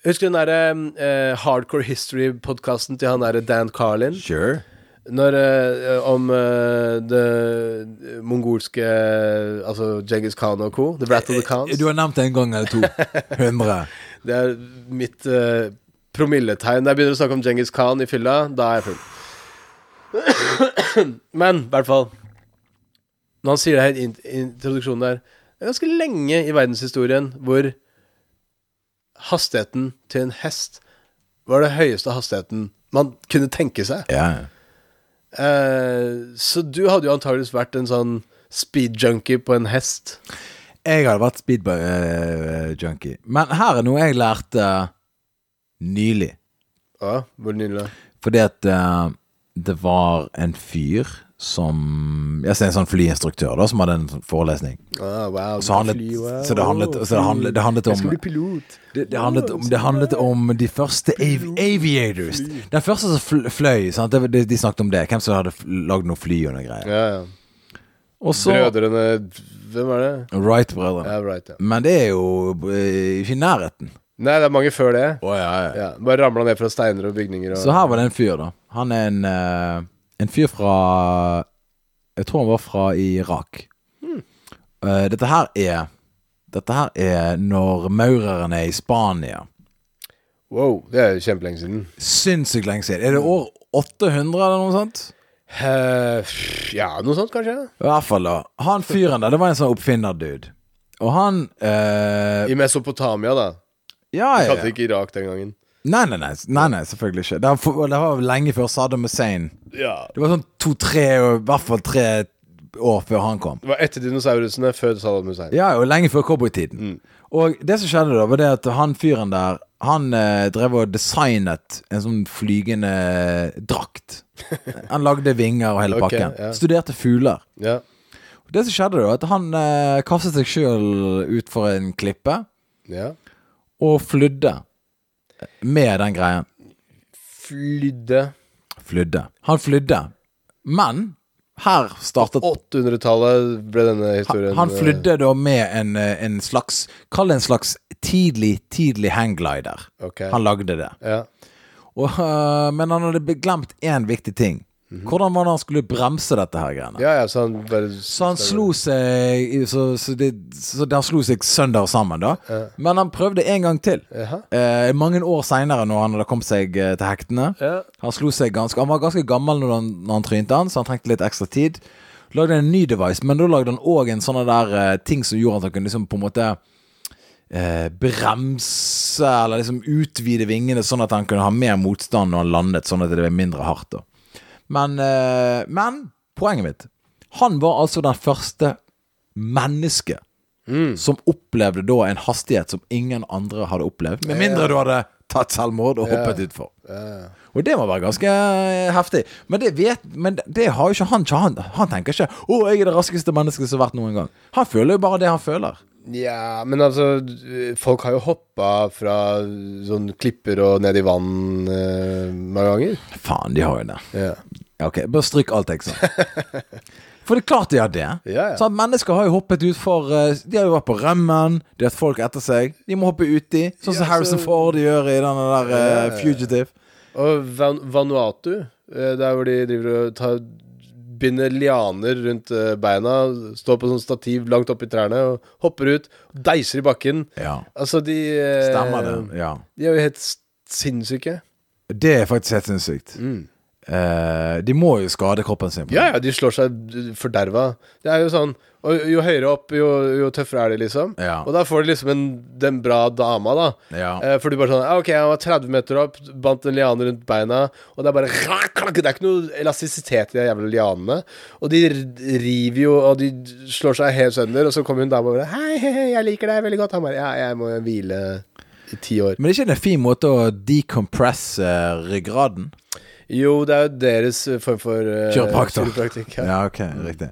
Husker du den derre eh, Hardcore History-podkasten til han derre Dan Carlin? Sure. Når, eh, om eh, det mongolske Altså Djengis Khan og co. The Rat of the Khans. Du har nevnt det en gang eller to. 100. Det er mitt eh, promilletegn. Når jeg begynner å snakke om Djengis Khan i fylla, da er jeg full. Men i hvert fall Når han sier det her i int- introduksjonen der Det er ganske lenge i verdenshistorien hvor hastigheten til en hest var det høyeste hastigheten man kunne tenke seg. Ja. Eh, så du hadde jo antageligvis vært en sånn speed junkie på en hest. Jeg hadde vært speedbug-junkie. Men her er noe jeg lærte nylig. Ja, hvor nydelig. Fordi at eh, det var en fyr som Jeg ser en sånn flyinstruktør da som hadde en sånn forelesning. Ah, wow, Så, handlet, fly, wow. så det handlet, så det handlet, det handlet Jeg om skal bli pilot. det, det, handlet om, det handlet om de første av aviators. Den første som fl- fløy. Sant? Det, var- de, de snakket om det. Hvem som hadde fl- lagd noe fly og noe greier. Ja, ja. Og så Brødrene Hvem er det? Wright-brødrene. Ja, right, ja. Men det er jo eh, ikke i nærheten. Nei, det er mange før det. Oh, Ja, bare ramla ned fra steiner og bygninger og Så her var det en fyr, da. Han er en, eh, en fyr fra Jeg tror han var fra Irak. Hmm. Eh, dette her er Dette her er når maurerne er i Spania. Wow, det er jo kjempelenge siden. Sinnssykt lenge siden. Er det år 800 eller noe sånt? Eh, pff, ja, noe sånt, kanskje? I hvert fall, da. Han fyren der, det var en sånn oppfinner-dude. Og han eh, I Mesopotamia, da. Ja, ja. Kalte det ikke Irak den gangen. Nei, nei, nei, nei, nei selvfølgelig ikke. Det var, for- det var lenge før Saddam Hussein. Ja Det var sånn to-tre, i hvert fall tre år før han kom. Det var etter dinosaurusene, før Saddam Hussein. Ja, og lenge før cowboytiden. Mm. Og det som skjedde da, var det at han fyren der, han eh, drev og designet en sånn flygende drakt. Han lagde vinger og hele Ok, pakken. ja. Studerte fugler. Ja. Og Det som skjedde da, var at han eh, kastet seg sjøl ut for en klippe, ja. og flydde med den greien. Flydde Flydde. Han flydde. Men her startet 800-tallet ble denne han, historien. han flydde da med en, eh, en slags Kall det en slags tidlig, tidlig hangglider. eh, Ok. Han lagde det. Ja. Og, øh, men han hadde be- glemt én viktig ting. Hvordan var det han skulle bremse dette her greiene? Mhm. ja, ja, så han bare Så han slo seg i- Så, så, det, så de slo seg sønder sammen, da. Men han prøvde en gang til. Jaha. Eh, mange år seinere, når han hadde kommet seg eh, til hektene. Ja. Han slo seg ganske Han var ganske gammel når han, når han trynte han, så han trengte litt ekstra tid. Lagde en ny device, men da lagde han òg en sånn der eh, ting som gjorde at han kunne liksom på en måte eh, bremse, eller liksom utvide vingene sånn at han kunne ha mer motstand når han landet, sånn at det ble mindre hardt. da. Men, eh, men poenget mitt Han var altså den første mennesket som opplevde da en hastighet som ingen andre hadde opplevd. Med mindre du hadde tatt selvmord og hoppet utfor. Og det må være ganske eh, heftig. Men det vet Men det har jo ikke han. Han, han tenker ikke 'Å, jeg er det raskeste mennesket som har vært noen gang'. Han føler jo bare det han føler. Nja, men altså d- Folk har jo hoppa fra sånn klipper og ned i vann eh, mange ganger. Faen, de har jo det. Ja. Ja, ok, bare stryk alt jeg sa. For det er klart de har det. Ja, ja. Sånn, mennesker har jo hoppet ut for eh, De har jo vært på rømmen, de har hatt folk etter seg. De må hoppe uti, sånn som Ja, Harrison så- Ford gjør i den der eh, Fugitive. Og Van Vanuatu, eh, der hvor de driver og tar, binder lianer rundt eh, beina, står på sånn stativ langt oppi trærne og hopper ut, deiser i bakken. Ja, Altså, de eh, stemmer det. Ja. De er jo helt s- sinnssyke. Det er faktisk helt sinnssykt. Eh, de må jo skade kroppen sin. på Mm. Ja, ja, de slår seg eh, forderva. Det er jo sånn og Jo høyere opp, jo, jo tøffere er de, liksom. Ja. Og da får de liksom en, den bra dama, da. Ja. Eh, for du bare sånn ah, OK, han var 30 meter opp, bandt en liane rundt beina, og det er bare klakk, klakk, Det er ikke noe elastisitet i de jævla lianene. Og de r- river jo, og de slår seg helt sønder, og så kommer hun dama og bare Hei, hei, hei, jeg liker deg veldig godt. Han bare Ja, jeg må hvile i ti år. Men det er ikke en fin måte å decompresse eh, ryggraden? Jo, det er jo deres form for uh, Kiropraktor. Ja. Ja, ok, riktig.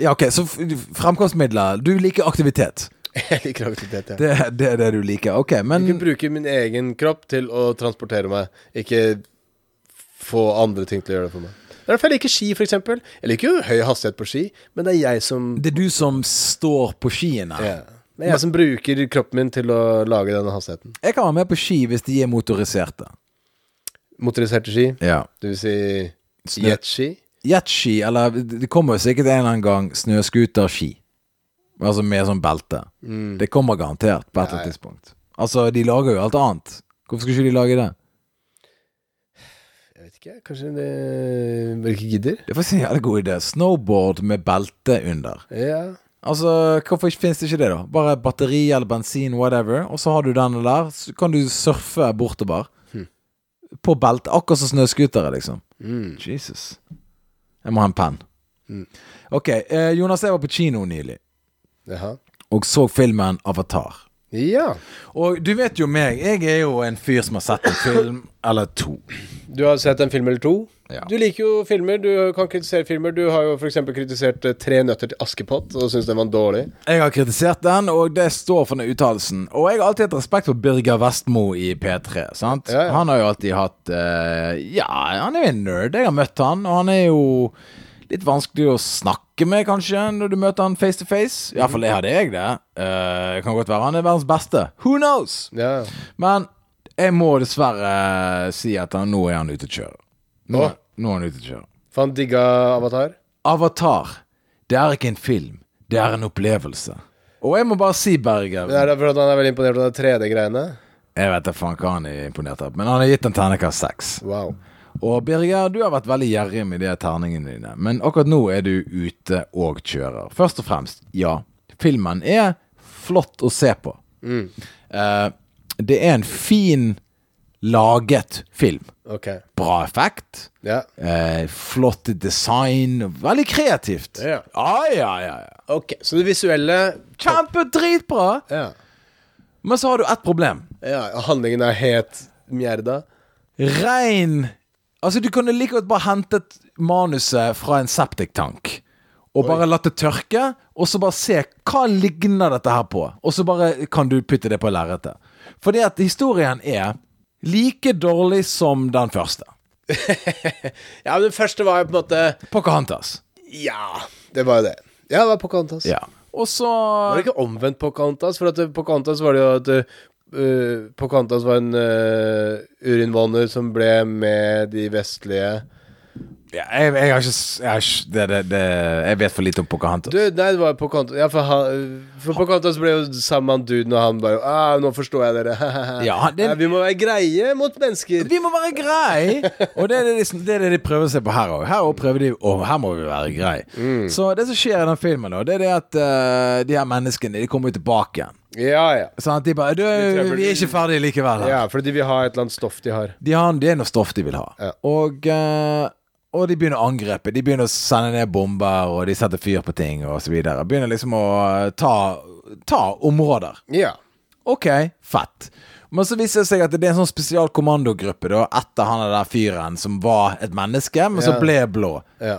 Ja, ok, Så f- fremkomstmidler Du liker aktivitet. Jeg liker aktivitet, ja. Det, det er det du liker. Ok, Jeg kan men bruke min egen kropp til å transportere meg, ikke få andre ting til å gjøre det for meg. Det er derfor jeg liker ski, f.eks. Jeg liker jo høy hastighet på ski, men det er jeg som det er du som står på skiene. ja. Det er jeg som bruker kroppen min til å lage denne hastigheten. Jeg kan være med på ski hvis de er motoriserte. Motoriserte ski, Ja. det vil si Snø- jetski. Jetski, eller det kommer jo sikkert en eller annen gang snøscooterski. Altså med sånn belte. Det kommer garantert på et eller Mm. Ja, annet ja. tidspunkt. Altså, de lager jo alt annet. Hvorfor skulle ikke de lage det? Jeg vet ikke, kanskje det bare ikke gidder? Det er faktisk en jævlig god idé. Snowboard med belte under. Ja. Altså, Hvorfor ikke- finnes det ikke det, da? Bare batteri eller bensin, whatever, og så har du den der. Så kan du surfe bortover. På belte. Akkurat som snøscootere, liksom. Mm. Jesus. Jeg må ha en penn. Ok, eh, Jonas, jeg var på kino nylig Jaha. og så filmen Avatar. Ja. Og du vet jo meg, jeg er jo en fyr som har sett en film eller to. Du har sett en film eller to. Ja. Du liker jo filmer, du kan kritisere filmer. Du har jo f.eks. kritisert eh, Tre nøtter til Askepott og syntes den var dårlig. Jeg har kritisert den, og det står for den uttalelsen. Og jeg har alltid hatt respekt for Birger Vestmo i P3. sant? Ja, ja. Han har jo alltid hatt eh, Ja, han er jo en nerd. Jeg har møtt han, og han er jo litt vanskelig å snakke med, kanskje, når du møter han face to face. Iallfall hadde jeg det. Eh, kan godt være han er verdens beste. Who knows? Ja. Men jeg må dessverre si at han, nå er han ute å kjøre. Nå, Åh. nå er han ute å kjøre. For han digga Avatar. Avatar, det er ikke en film, det er en opplevelse. Og jeg må bare si, Berger Men Er det fordi han er veldig imponert over de 3D-greiene? Jeg vet da faen hva han er imponert av, men han har gitt en terningkast seks. Wow. Og Birger, du har vært veldig gjerrig med de her terningene dine, men akkurat nå er du ute og kjører. Først og fremst, ja, filmen er flott å se på. Eh, det er en fin laget film. Ok. Bra effekt. Ja. Eh, flott design. Veldig kreativt. Ja. Ah, ja, ja, ja. Ok, Så det visuelle Kjempedritbra! Ja. Men så har du ett problem. ja. Handlingen er helt mjerda. Rein Altså, du kunne like godt bare hentet manuset fra en septiktank. Og bare latt det tørke, og så bare se hva ligner dette her på. Og så bare kan du putte det på lerretet. Fordi at historien er like dårlig som den første. Ja, men den første var jo på en måte Pocahontas. Ja. Det var jo det. Ja, det var Pocahontas. Ja. Og så Var det ikke omvendt Pocahontas? For at eh, Pocahontas var det jo at eh, Pocahontas var en eh, urinnvåner som ble med de vestlige ja, jeg, jeg har ikke, s- jeg, har ikke det, det, det, jeg vet for lite om Pocahontas. Du, nei, det var Pocahontas Ja, for, han, for Pocahontas ble jo sammen med han duden, og han bare ah, 'Nå forstår jeg dere.' Ja, han- det- Nei, vi må være greie mot mennesker. Vi må være grei Og det er det, de- det, er det de prøver seg på her òg. Her også prøver de å her må vi være grei. Mm. Så det som skjer i den filmen, da, det er det at eh, de her menneskene De kommer jo tilbake igjen. Ja, ja. Sånn at de bare du, 'Vi er ikke ferdige likevel.' Her. Ja, fordi vi har et eller annet stoff de har. De har, det er noe stoff de vil ha. Ja. Og, eh, og de begynner angrepet. De begynner å sende ned bomber, og de setter fyr på ting og så videre Begynner liksom å eh, ta, ta områder. Ja. Ok, fett. Men så viser det seg at det er en sånn spesialkommandogruppe da, etter han der fyren som var et menneske, men som Ja. ble blå. ja.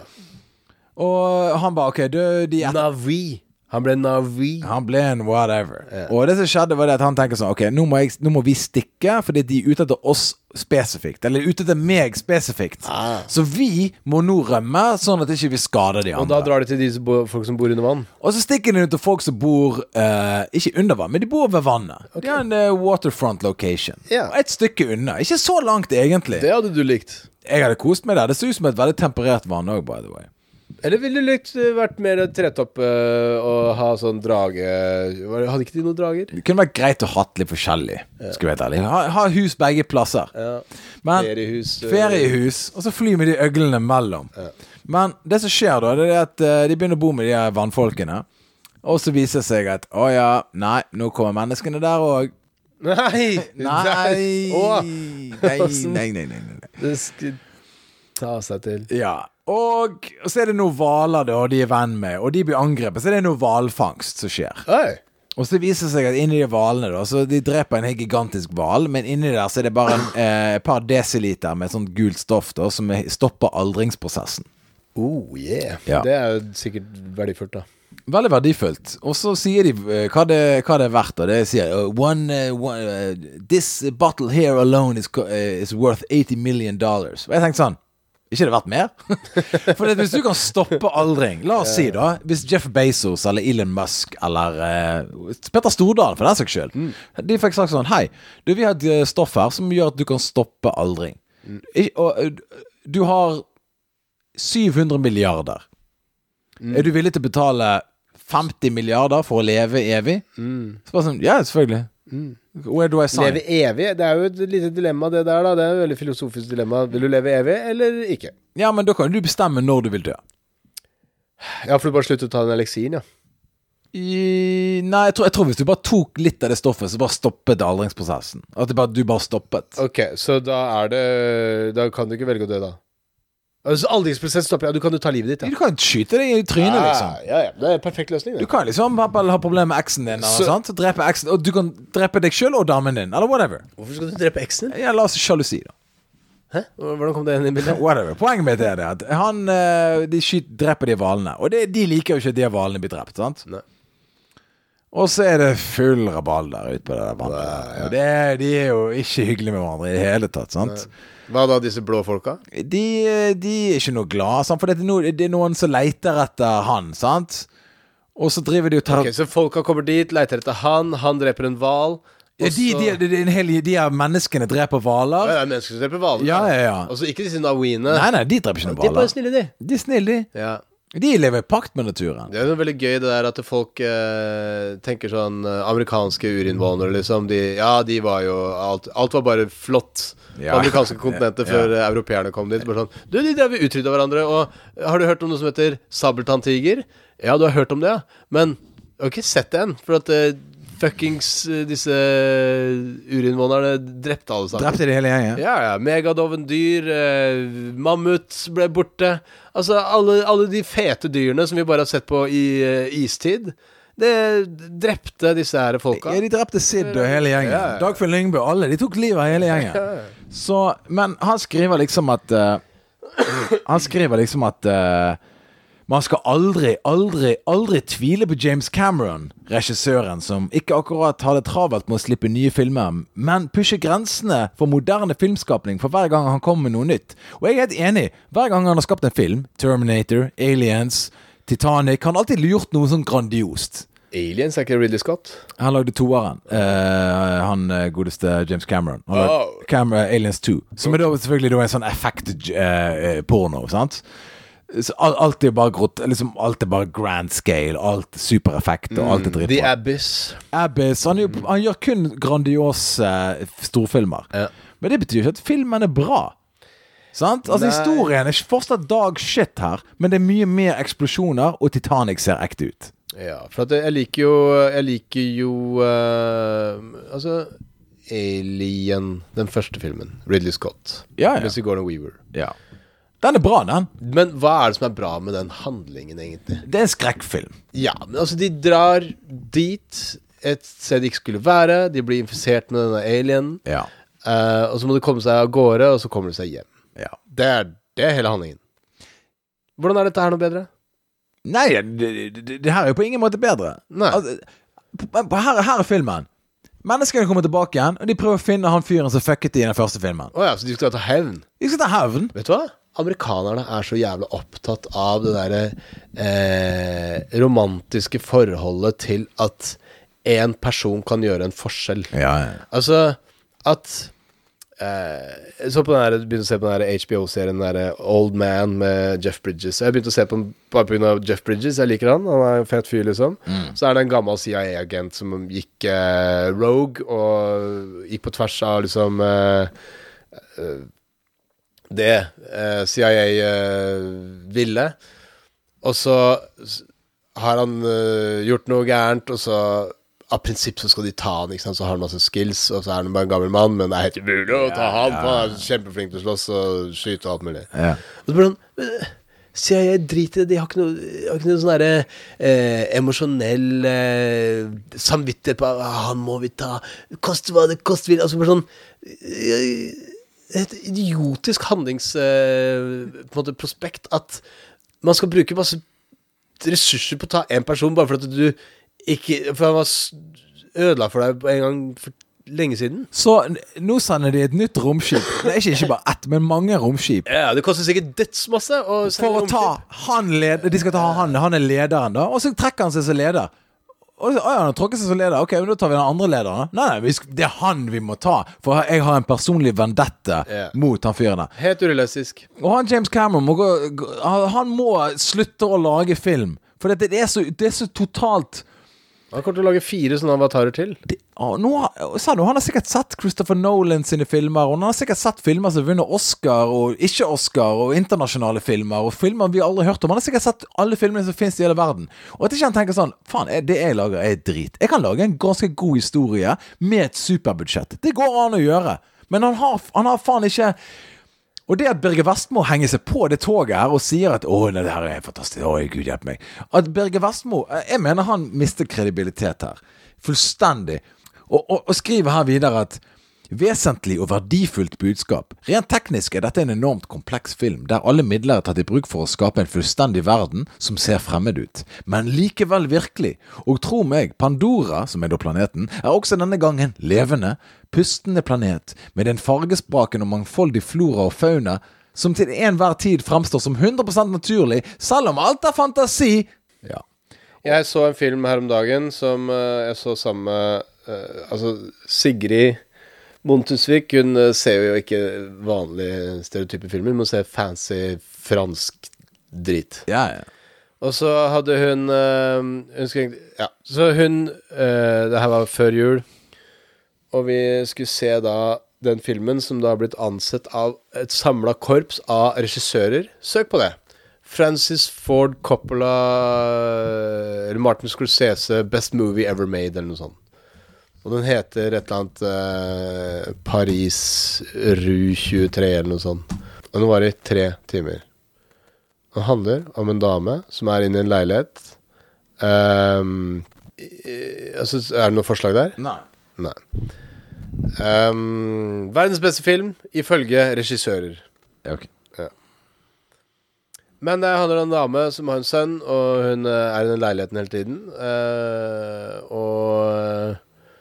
Og han bare OK, du, de etter... Navi Han ble Navi. Han ble en whatever. Og det som skjedde, var det at han tenker sånn Ok, nå må, jeg, nå må vi stikke, fordi de er ute etter oss spesifikt. Eller ute etter meg spesifikt. Ah. Så vi må nå rømme, sånn at ikke vi skader de Og andre. da Og, drar de til de som bo, folk som bor under vann. så stikker de ut til folk som bor eh, ikke under vann, men de bor ved vannet. De har en eh, waterfront location. Ja. Og Et stykke unna. Ikke så langt, egentlig. Det hadde du likt. Jeg hadde kost meg der. Det ser ut som et veldig temperert vann òg, by the way. Eller ville du likt eh, vært mer tretopp eh, og ha sånn drage Var- Hadde ikke de noen drager? Det kunne vært greit å hatt litt forskjellig. Skal vi være ærlig ha, ha hus begge plasser. Ja. Men Feriehus, eh. feriehus, og så fly med de øglene mellom. Men det som skjer da, det er at eh, de begynner å bo med de her vannfolkene. Og så viser det seg at å ja, nei, nå kommer menneskene der òg. Nei! Nei. Å! nei, nei, nei, nei, nei. Det skal ta seg til. Ja. Og og så er det noen hvaler da, og de er venn med, og de blir angrepet. Så det er noe hvalfangst som skjer. Oi! Og så viser det seg at inni de hvalene da, så de dreper en helt gigantisk hval, men inni der så er det bare et eh, et par desiliter med sånt gult stoff da, som er- stopper aldringsprosessen. Oh yeah. Ja. Det er jo sikkert verdifullt, da. Veldig verdifullt. Og så sier de eh, hva det, hva det er verdt, og det sier eh, one, eh, one, eh, This bottle here alone is, co- eh, is worth 80 million dollars. Og jeg tenkte sånn ikke det verdt mer? For det, hvis du kan stoppe aldring La oss si, da, hvis Jeff Bezos eller Elon Musk eller eh, Petter Stordalen, for den saks skyld, de fikk sagt sånn Hei, du, vi har et eh, stoff her som gjør at du kan stoppe aldring. Ik- og eh, du har 700 milliarder. Mm. Er du villig til å betale 50 milliarder for å leve evig? Så bare sånn, Ja, selvfølgelig. Where do I sign? Mm. Leve evig? Det er jo et lite dilemma, det der. da Det er jo et veldig filosofisk dilemma. Vil du leve evig, eller ikke? Ja, men da kan jo du bestemme når du vil dø. Ja, for du bare slutter å ta den eliksiren, ja. I, nei, jeg tror, jeg tror hvis du bare tok litt av det stoffet, så bare stoppet aldringsprosessen. At det bare, du bare stoppet. Ok, så da er det Da kan du ikke velge å dø, da. Altså, Aldringsprosess stopper. Ja, du kan jo ta livet ditt, ja. Du kan skyte deg i trynet, liksom. Ah, Ja, ja, ja. Det er en perfekt løsning, Du det. kan liksom for eksempel, ha problemer med eksen din, eller Så- sant? Så drepe eksen, og du kan drepe deg sjøl og damen din, eller whatever. Hvorfor skal du drepe eksen din? Ja, la oss si sjalusi, da. Hæ? Hvordan kom det inn i bildet? Whatever. Poenget mitt er det at han eh, de skyter, dreper de hvalene. Og det, de liker jo ikke at de hvalene blir drept. sant? Nei. Og så er det full rabalder ute på det der vannet. der. Og det, de er jo ikke hyggelige med hverandre i det hele tatt. sant? Hva da, disse blå folka? De, eh, de er ikke noe glad, sant? for det er, no, det er noen som leter etter han. sant? Og så driver de og tar Ok, Så folka kommer dit, leiter etter han, han dreper en hval. Ja, de, de, de, de, en hel, de her menneskene dreper hvaler. Det er mennesker som dreper hvaler. Ja, ja, ja. Altså ikke disse nawiene. Nei, nei, de dreper ikke noen De er bare hvaler. snille, de. De er snille, de. Ja. De lever i pakt med naturen. Det er jo veldig gøy det der at folk eh, tenker sånn eh, Amerikanske urinnvånere, liksom. De, ja, de var jo Alt, alt var bare flott på Ja. amerikanske kontinentet Ja. før eh, europeerne kom dit. Bare sånn Du, de drev og utrydda hverandre, og har du hørt om noe som heter sabeltanntiger? Ja, du har hørt om det, ja. Men du har ikke sett det en, for at eh, fuckings eh, disse urinnvånerne drepte alle sammen. Drepte de hele gjengen? Ja, ja. Megadoven dyr, eh, mammut ble borte. Altså, alle, alle de fete dyrene som vi bare har sett på i eh, istid, det drepte disse her folka. Ja, de drepte Sid og hele gjengen. Ja, ja. Dagfinn Lyngbø, alle. De tok livet av hele gjengen. Så, men han skriver liksom at eh, Han skriver liksom at eh, man skal aldri, aldri, aldri tvile på James Cameron, regissøren som ikke akkurat har det travelt med å slippe nye filmer, men pusher grensene for moderne filmskapning for hver gang han kommer med noe nytt. Og jeg er helt enig. Hver gang han har skapt en film, Terminator, Aliens, Titanic, han har alltid gjort noe sånn grandiost. Aliens er ikke Ridley Scott. Han lagde toeren. eh, han eh, godeste James Cameron. Han lagde Oh. Cam- eh, Aliens 2. Som er da selvfølgelig da en sånn effekt-porno. sant? Så al- alt er bare grot, liksom alt er bare grand scale, alt supereffekt og alt er The dritbra. Abyss. Abyss han, gjør- han gjør kun grandiose eh, storfilmer. Mm. Ja. Men det betyr ikke at filmen er bra. Sant? Altså Nei. Historien er fortsatt dag shit her, men det er mye mer eksplosjoner, og Titanic ser ekte ut. Ja, for at jeg liker jo Jeg liker jo eh, Altså Alien, den første filmen. Ridley Scott. Ja, ja. Med Sigourney Weaver. Ja. Den er bra, den. Men hva er det som er bra med den handlingen, egentlig? Det er en skrekkfilm. Ja, men altså de drar dit et sted de ikke skulle være. De blir infisert med denne alienen. Ja. Eh, og så må de komme seg av gårde, og så kommer de seg hjem. ja. Det er, det er hele handlingen. Hvordan er dette her noe bedre? Nei, det, det, det her er jo på ingen måte bedre. Nei. Altså, på- på- her, her er filmen. Menneskene kommer tilbake igjen, og de prøver å finne han fyren som fucket de i den første filmen. Å ja, så de skal ta hevn. De skal ta hevn. Vet du hva? Amerikanerne er så jævla opptatt av det derre eh, romantiske forholdet til at én person kan gjøre en forskjell. Ja, ja. Altså at eh, Jeg så på den her, begynte å se på den her HBO-serien den der eh, Old Man med Jeff Bridges. Jeg begynte å se på den bare pga. Jeff Bridges. Jeg liker han. Han er en fet fyr, liksom. Så er det en gammel CIA-agent som gikk eh, rogue og gikk på tvers av liksom eh, eh, det eh, CIA eh, ville. Og så s- har han øh, gjort noe gærent, og så av prinsipp så skal de ta han, ikke sant? så har han masse skills, og så er han bare en gammel mann, men det er helt umulig å ta han, for han er kjempeflink til å slåss og skyte og alt mulig. Ja. Og så blir han «Øh, Sier jeg drit i det, de har ikke noe, de har ikke noe sånn derre eh, emosjonell eh, samvittighet på ah, 'Han må vi ta, koste hva det koste vil' Altså bare sånn eh, Et idiotisk handlings... Eh, på en måte prospekt at man skal bruke masse ressurser på å ta én person bare fordi du ikke For han var s- ødela for deg en gang for lenge siden. Så n- nå sender de et nytt romskip. Det er ikke, ikke bare ett, men mange romskip. Ja, Det koster sikkert dødsmasse. å sende For å ta romskip. han led, De skal ta han, han er lederen, da. Og så trekker han seg som leder. Og så, å ja, han har trukket seg som leder. Ok, men da tar vi den andre lederen. da.» Nei, nei, vi sk- det er han vi må ta. For jeg har en personlig vendette Ja. mot han fyren der. Helt urealistisk. Og han James Cameron må gå, gå- han- Han må slutte å lage film. For det, det, er, så, det er så totalt Han kommer til å lage fire sånne avatarer til. det, å, nå, har- sa du, Han har sikkert sett Christopher Nolan sine filmer, og han har sikkert sett filmer som vinner Oscar og ikke-Oscar, og internasjonale filmer, og filmer vi aldri har hørt om. Han har sikkert sett alle filmene som finnes i hele verden. Og at ikke han tenker sånn Faen, jeg- det jeg lager, er drit. Jeg kan lage en ganske god historie med et superbudsjett. Det går an å gjøre. Men han har, han har faen ikke og det at Birger Vestmo henger seg på det toget her og sier at 'Å, nei, det her er fantastisk. Å, Gud hjelpe meg'. At Birger Vestmo eh, Jeg mener han mister kredibilitet her. Fullstendig. Og, og, og skriver her videre at Vesentlig og verdifullt budskap. Rent teknisk er dette en enormt kompleks film, der alle midler er tatt i bruk for å skape en fullstendig verden som ser fremmed ut, men likevel virkelig. Og tro meg, Pandora, som er da planeten, er også denne gangen levende, pustende planet, med en fargespraken og mangfoldig flora og fauna, som til enhver tid fremstår som 100 naturlig, selv om alt er fantasi. Ja. Jeg så en film her om dagen som eh, jeg så sammen med eh, Altså, Sigrid Montusvik Hun eh, ser jo ikke vanlige stereotype filmer, men hun ser fancy fransk drit. Ja, ja. Og så hadde hun eh, Hun skulle egentlig Ja. Så hun eh, Det her var før jul. Og vi skulle se da den filmen som da har blitt ansett av et samla korps av regissører. Søk på det. Francis Ford Coppola eller Martin Scorsese, 'Best Movie Ever Made', eller noe sånt. Og den heter et eller annet eh, Paris Rue 23 eller noe sånt. Og den varer i tre timer. Den handler om en dame som er inne i en leilighet. Ehm, i- i- altså, er det noe forslag der? Nei. Nei. Ehm, verdens beste film ifølge regissører. Ja, ok. Men det handler om en dame som har en sønn, og hun eh, er i den leiligheten hele tiden. Eh, og,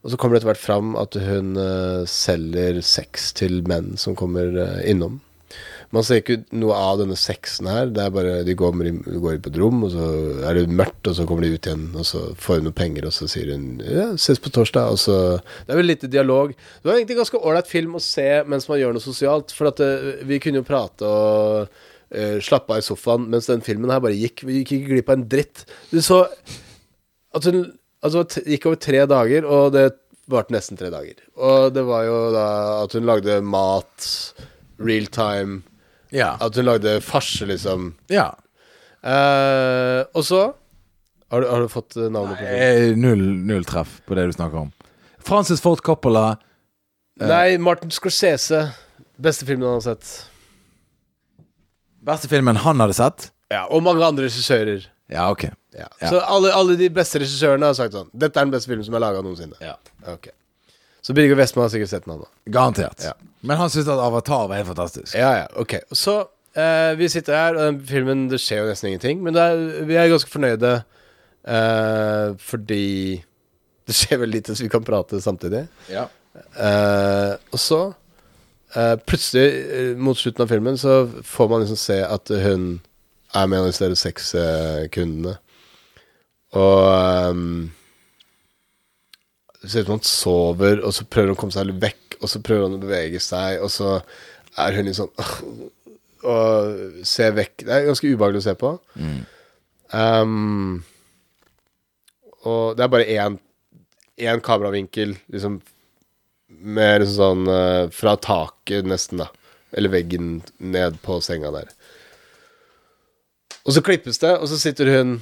og så kommer det etter hvert fram at hun eh, selger sex til menn som kommer eh, innom. Man ser ikke ut noe av denne sexen her. Det er bare, De går, med- de går inn på et rom, og så er det mørkt, og så kommer de ut igjen, og så får hun noen penger, og så sier hun ja, 'ses på torsdag', og så Det er veldig lite dialog. Det var egentlig ganske ålreit film å se mens man gjør noe sosialt, for at eh, vi kunne jo prate og uh, slappe av i sofaen, mens den filmen her bare gikk. Vi gikk ikke glipp av en dritt. Du så at hun altså, det gikk over tre dager, og det varte nesten tre dager. Og det var jo da at hun lagde mat, real time, Ja. at hun lagde farse, liksom. ja. Eh, og så har du, har du fått eh, navnet på filmen? Eh, Null, null treff på det du snakker om. Francis Ford Coppola. Nei, Martin Scorsese. Beste filmen han har sett. Beste filmen han hadde sett? Ja, og mange andre regissører. Ja, ok. Ja. Ja. Så alle, alle de beste regissørene har sagt sånn Dette er den beste filmen som er laga noensinne. Ok. Så Birger Westman har sikkert sett den, han da. Garantert. Ja. Men han syntes at Avatar var helt fantastisk. Ja, ja, ok. Så eh, vi sitter her, og den filmen Det skjer jo nesten ingenting, men det er, vi er ganske fornøyde eh, fordi det skjer veldig lite, så vi kan prate samtidig. Ja. Eh, og så eh, Plutselig, eh, mot slutten av filmen, så får man liksom se at hun er med en av disse der seks eh, kundene. Og ehm, Det ser ut som han sover, og så prøver hun å komme seg litt vekk, og så prøver hun å bevege seg, og så er hun litt sånn Og ser vekk Det er ganske ubehagelig å se på. Ehm, og det er bare én, én kameravinkel, liksom med liksom sånn eh, Fra taket nesten, da. Eller veggen ned på senga der. Og så klippes det, og så sitter hun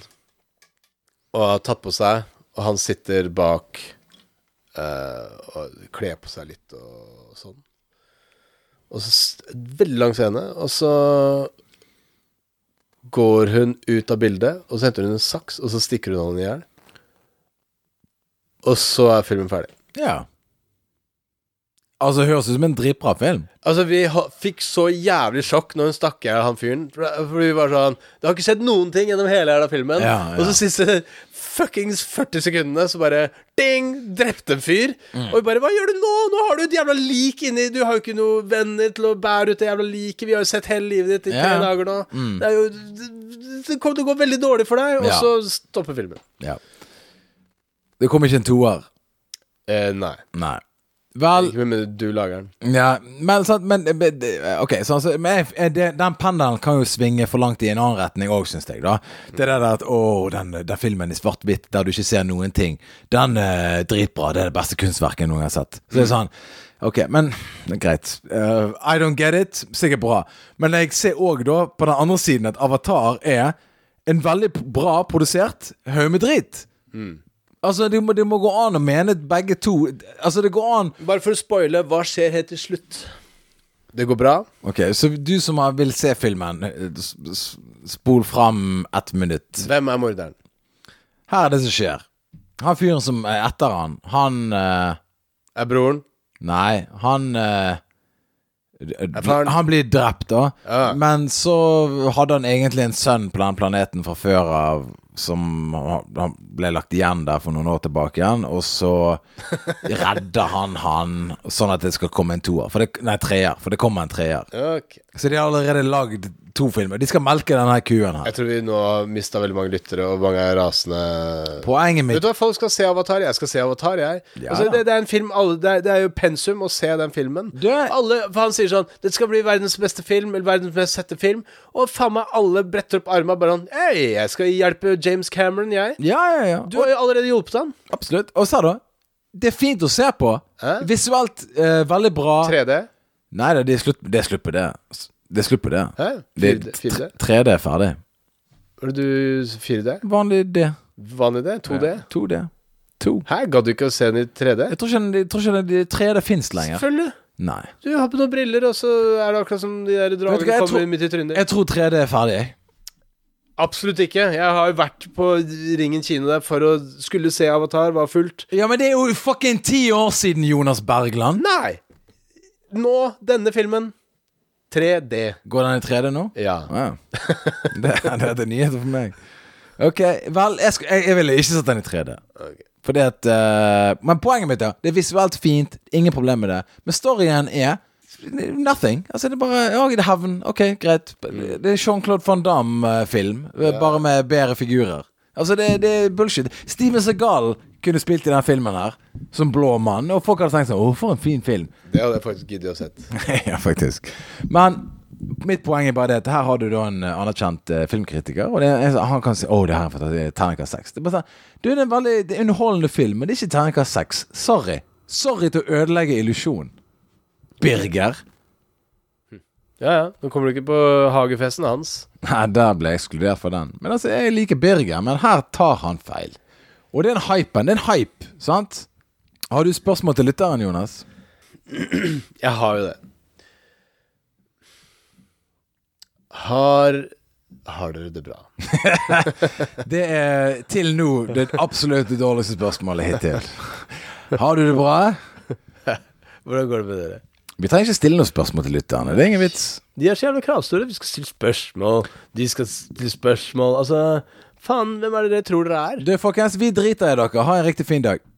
og har tatt på seg, og han sitter bak eh, og kler på seg litt og sånn. Og så s- Veldig lang scene, og så går hun ut av bildet, og så henter hun en saks, og så stikker hun han i hjel. Og så er filmen ferdig. ja. Altså, høres ut som en dritbra film. Altså, vi ha, fikk så jævlig sjokk når hun stakk i hjel han fyren. For, for vi var sånn Det har ikke skjedd noen ting gjennom hele jævla filmen. Ja, ja. Og så siste fuckings 40 sekundene, så bare ding! Drepte en fyr. Mm. Og vi bare Hva gjør du nå? Nå har du et jævla lik inni Du har jo ikke noen venner til å bære ut det jævla liket. Vi har jo sett hele livet ditt i tre Ja. Mm. dager nå. Det er jo det- Det kommer til å gå veldig dårlig for deg. Og Ja. så stopper filmen. Ja. Det kom ikke en toer. Eh, nei. Nei. Vel Ikke med mindre du lager den. Ja, men, sant, men men, det- Ok, sånn, så, men jeg- det, den pendelen kan jo svinge for langt i en annen retning òg, syns jeg. da Det der at å, den, den filmen i svart-hvitt der du ikke ser noen ting, den er dritbra. Det er det beste kunstverket jeg noen gang har sett. Så det er sånn Ok, men det er greit. Eh, I don't get it. Sikkert bra. Men jeg ser òg da, på den andre siden, at Avatar er en veldig p- bra produsert haug med drit. Altså, det må, det må gå an å mene begge to Altså, det går an Bare for å spoile, hva skjer helt til slutt? Det går bra. Ok, så du som har- vil se filmen, eh, s- s- spol fram ett minutt. Hvem er morderen? Her er det som skjer. Han fyren som er etter han, han eh, Er broren? Nei, han eh, d- faren? Han blir drept, da. Ja. Men så hadde han egentlig en sønn på den planeten fra før av, som han han ble lagt igjen der for noen år tilbake igjen, og så redder han han, sånn at det skal komme en toer. For det- Nei, treer. For det kommer en treer. Ok. Så de har allerede lagd to filmer. De skal melke denne kuen her. Jeg tror vi nå har mista veldig mange lyttere, og mange er rasende Poenget Vet mitt du hva, folk skal se Avatar. Jeg skal se Avatar, jeg. Ja. Altså, det, det er en film alle, det, er, det er jo pensum å se den filmen. Det- Alle, for Han sier sånn 'Det skal bli verdens beste film', eller 'verdens mest sette film', og faen meg alle bretter opp armene bare sånn 'Hei, jeg skal hjelpe James Cameron, jeg'. Ja, ja, ja. Du har jo allerede hjulpet han. absolutt. Og så da, det er fint å se på. Hæ? Visuelt eh, veldig bra. 3D. Nei da, det er slutt det er slutt på det. Det er slutt på det. Hæ? Det 4D? 4D? 3D er ferdig. Var det du 4D? Vanlig D. Vanlig D? 2D? 2D. 2. Hæ, gadd du ikke å se den i 3D? Jeg tror ikke, den- jeg tror ikke den- de 3D fins lenger. Selvfølgelig. Nei. Du har på noen briller, og så er det akkurat som de der Vet du hva, dragene jeg kommer tror- midt i trynet. Jeg tror 3D er ferdig, jeg. Absolutt ikke. Jeg har jo vært på Ringen kino der for å skulle se Avatar, var fullt. Ja, men det er jo fucking ti år siden Jonas Bergland. Nei! Nå, denne filmen 3D. Går den i 3D nå? Ja. Wow. Det, det er nyheter for meg. Ok, vel, jeg, sk- jeg, jeg ville ikke satt den i 3D. Ok. Fordi at eh, Men poenget mitt er det er visuelt fint, ingen problem med det. Men storyen er nothing. Altså Det er bare ja, det er hevn. Ok, greit. Det er Jean-Claude Van Damme-film, eh, bare med bedre figurer. Altså, det, det er bullshit. Steven Segal kunne spilt i den filmen her som blå mann, og folk hadde tenkt sånn Å, for en fin film. Det hadde jeg faktisk giddet å sett. ja, faktisk. Men mitt poeng er bare det at her har du da en eh, anerkjent eh, filmkritiker, og det er, han kan si 'Å, det her er fantastisk. Terningkast 6'. Det er bare sånn Du, det er en veldig det er en underholdende film, men det er ikke terningkast 6. Sorry. Sorry til å ødelegge illusjonen. Birger. Ja, ja. Nå kommer du ikke på hagefesten hans. Nei, der ble jeg ekskludert fra den. Men altså, jeg liker Birger, men her tar han feil. Og det er en hype, det er en hype, sant? Har du spørsmål til lytteren, Jonas? Jeg har jo det. Har Har dere det bra? Det er til nå det absolutt dårligste spørsmålet hittil. Har du det bra? Hvordan går det med dere? Vi trenger ikke stille noen spørsmål til lytterne. Det er ingen vits. De er så jævla kravstore. Vi skal stille spørsmål. De skal stille spørsmål. Altså, faen, hvem er det dere tror dere er? Du, folkens, vi driter i dere. Ha en riktig fin dag.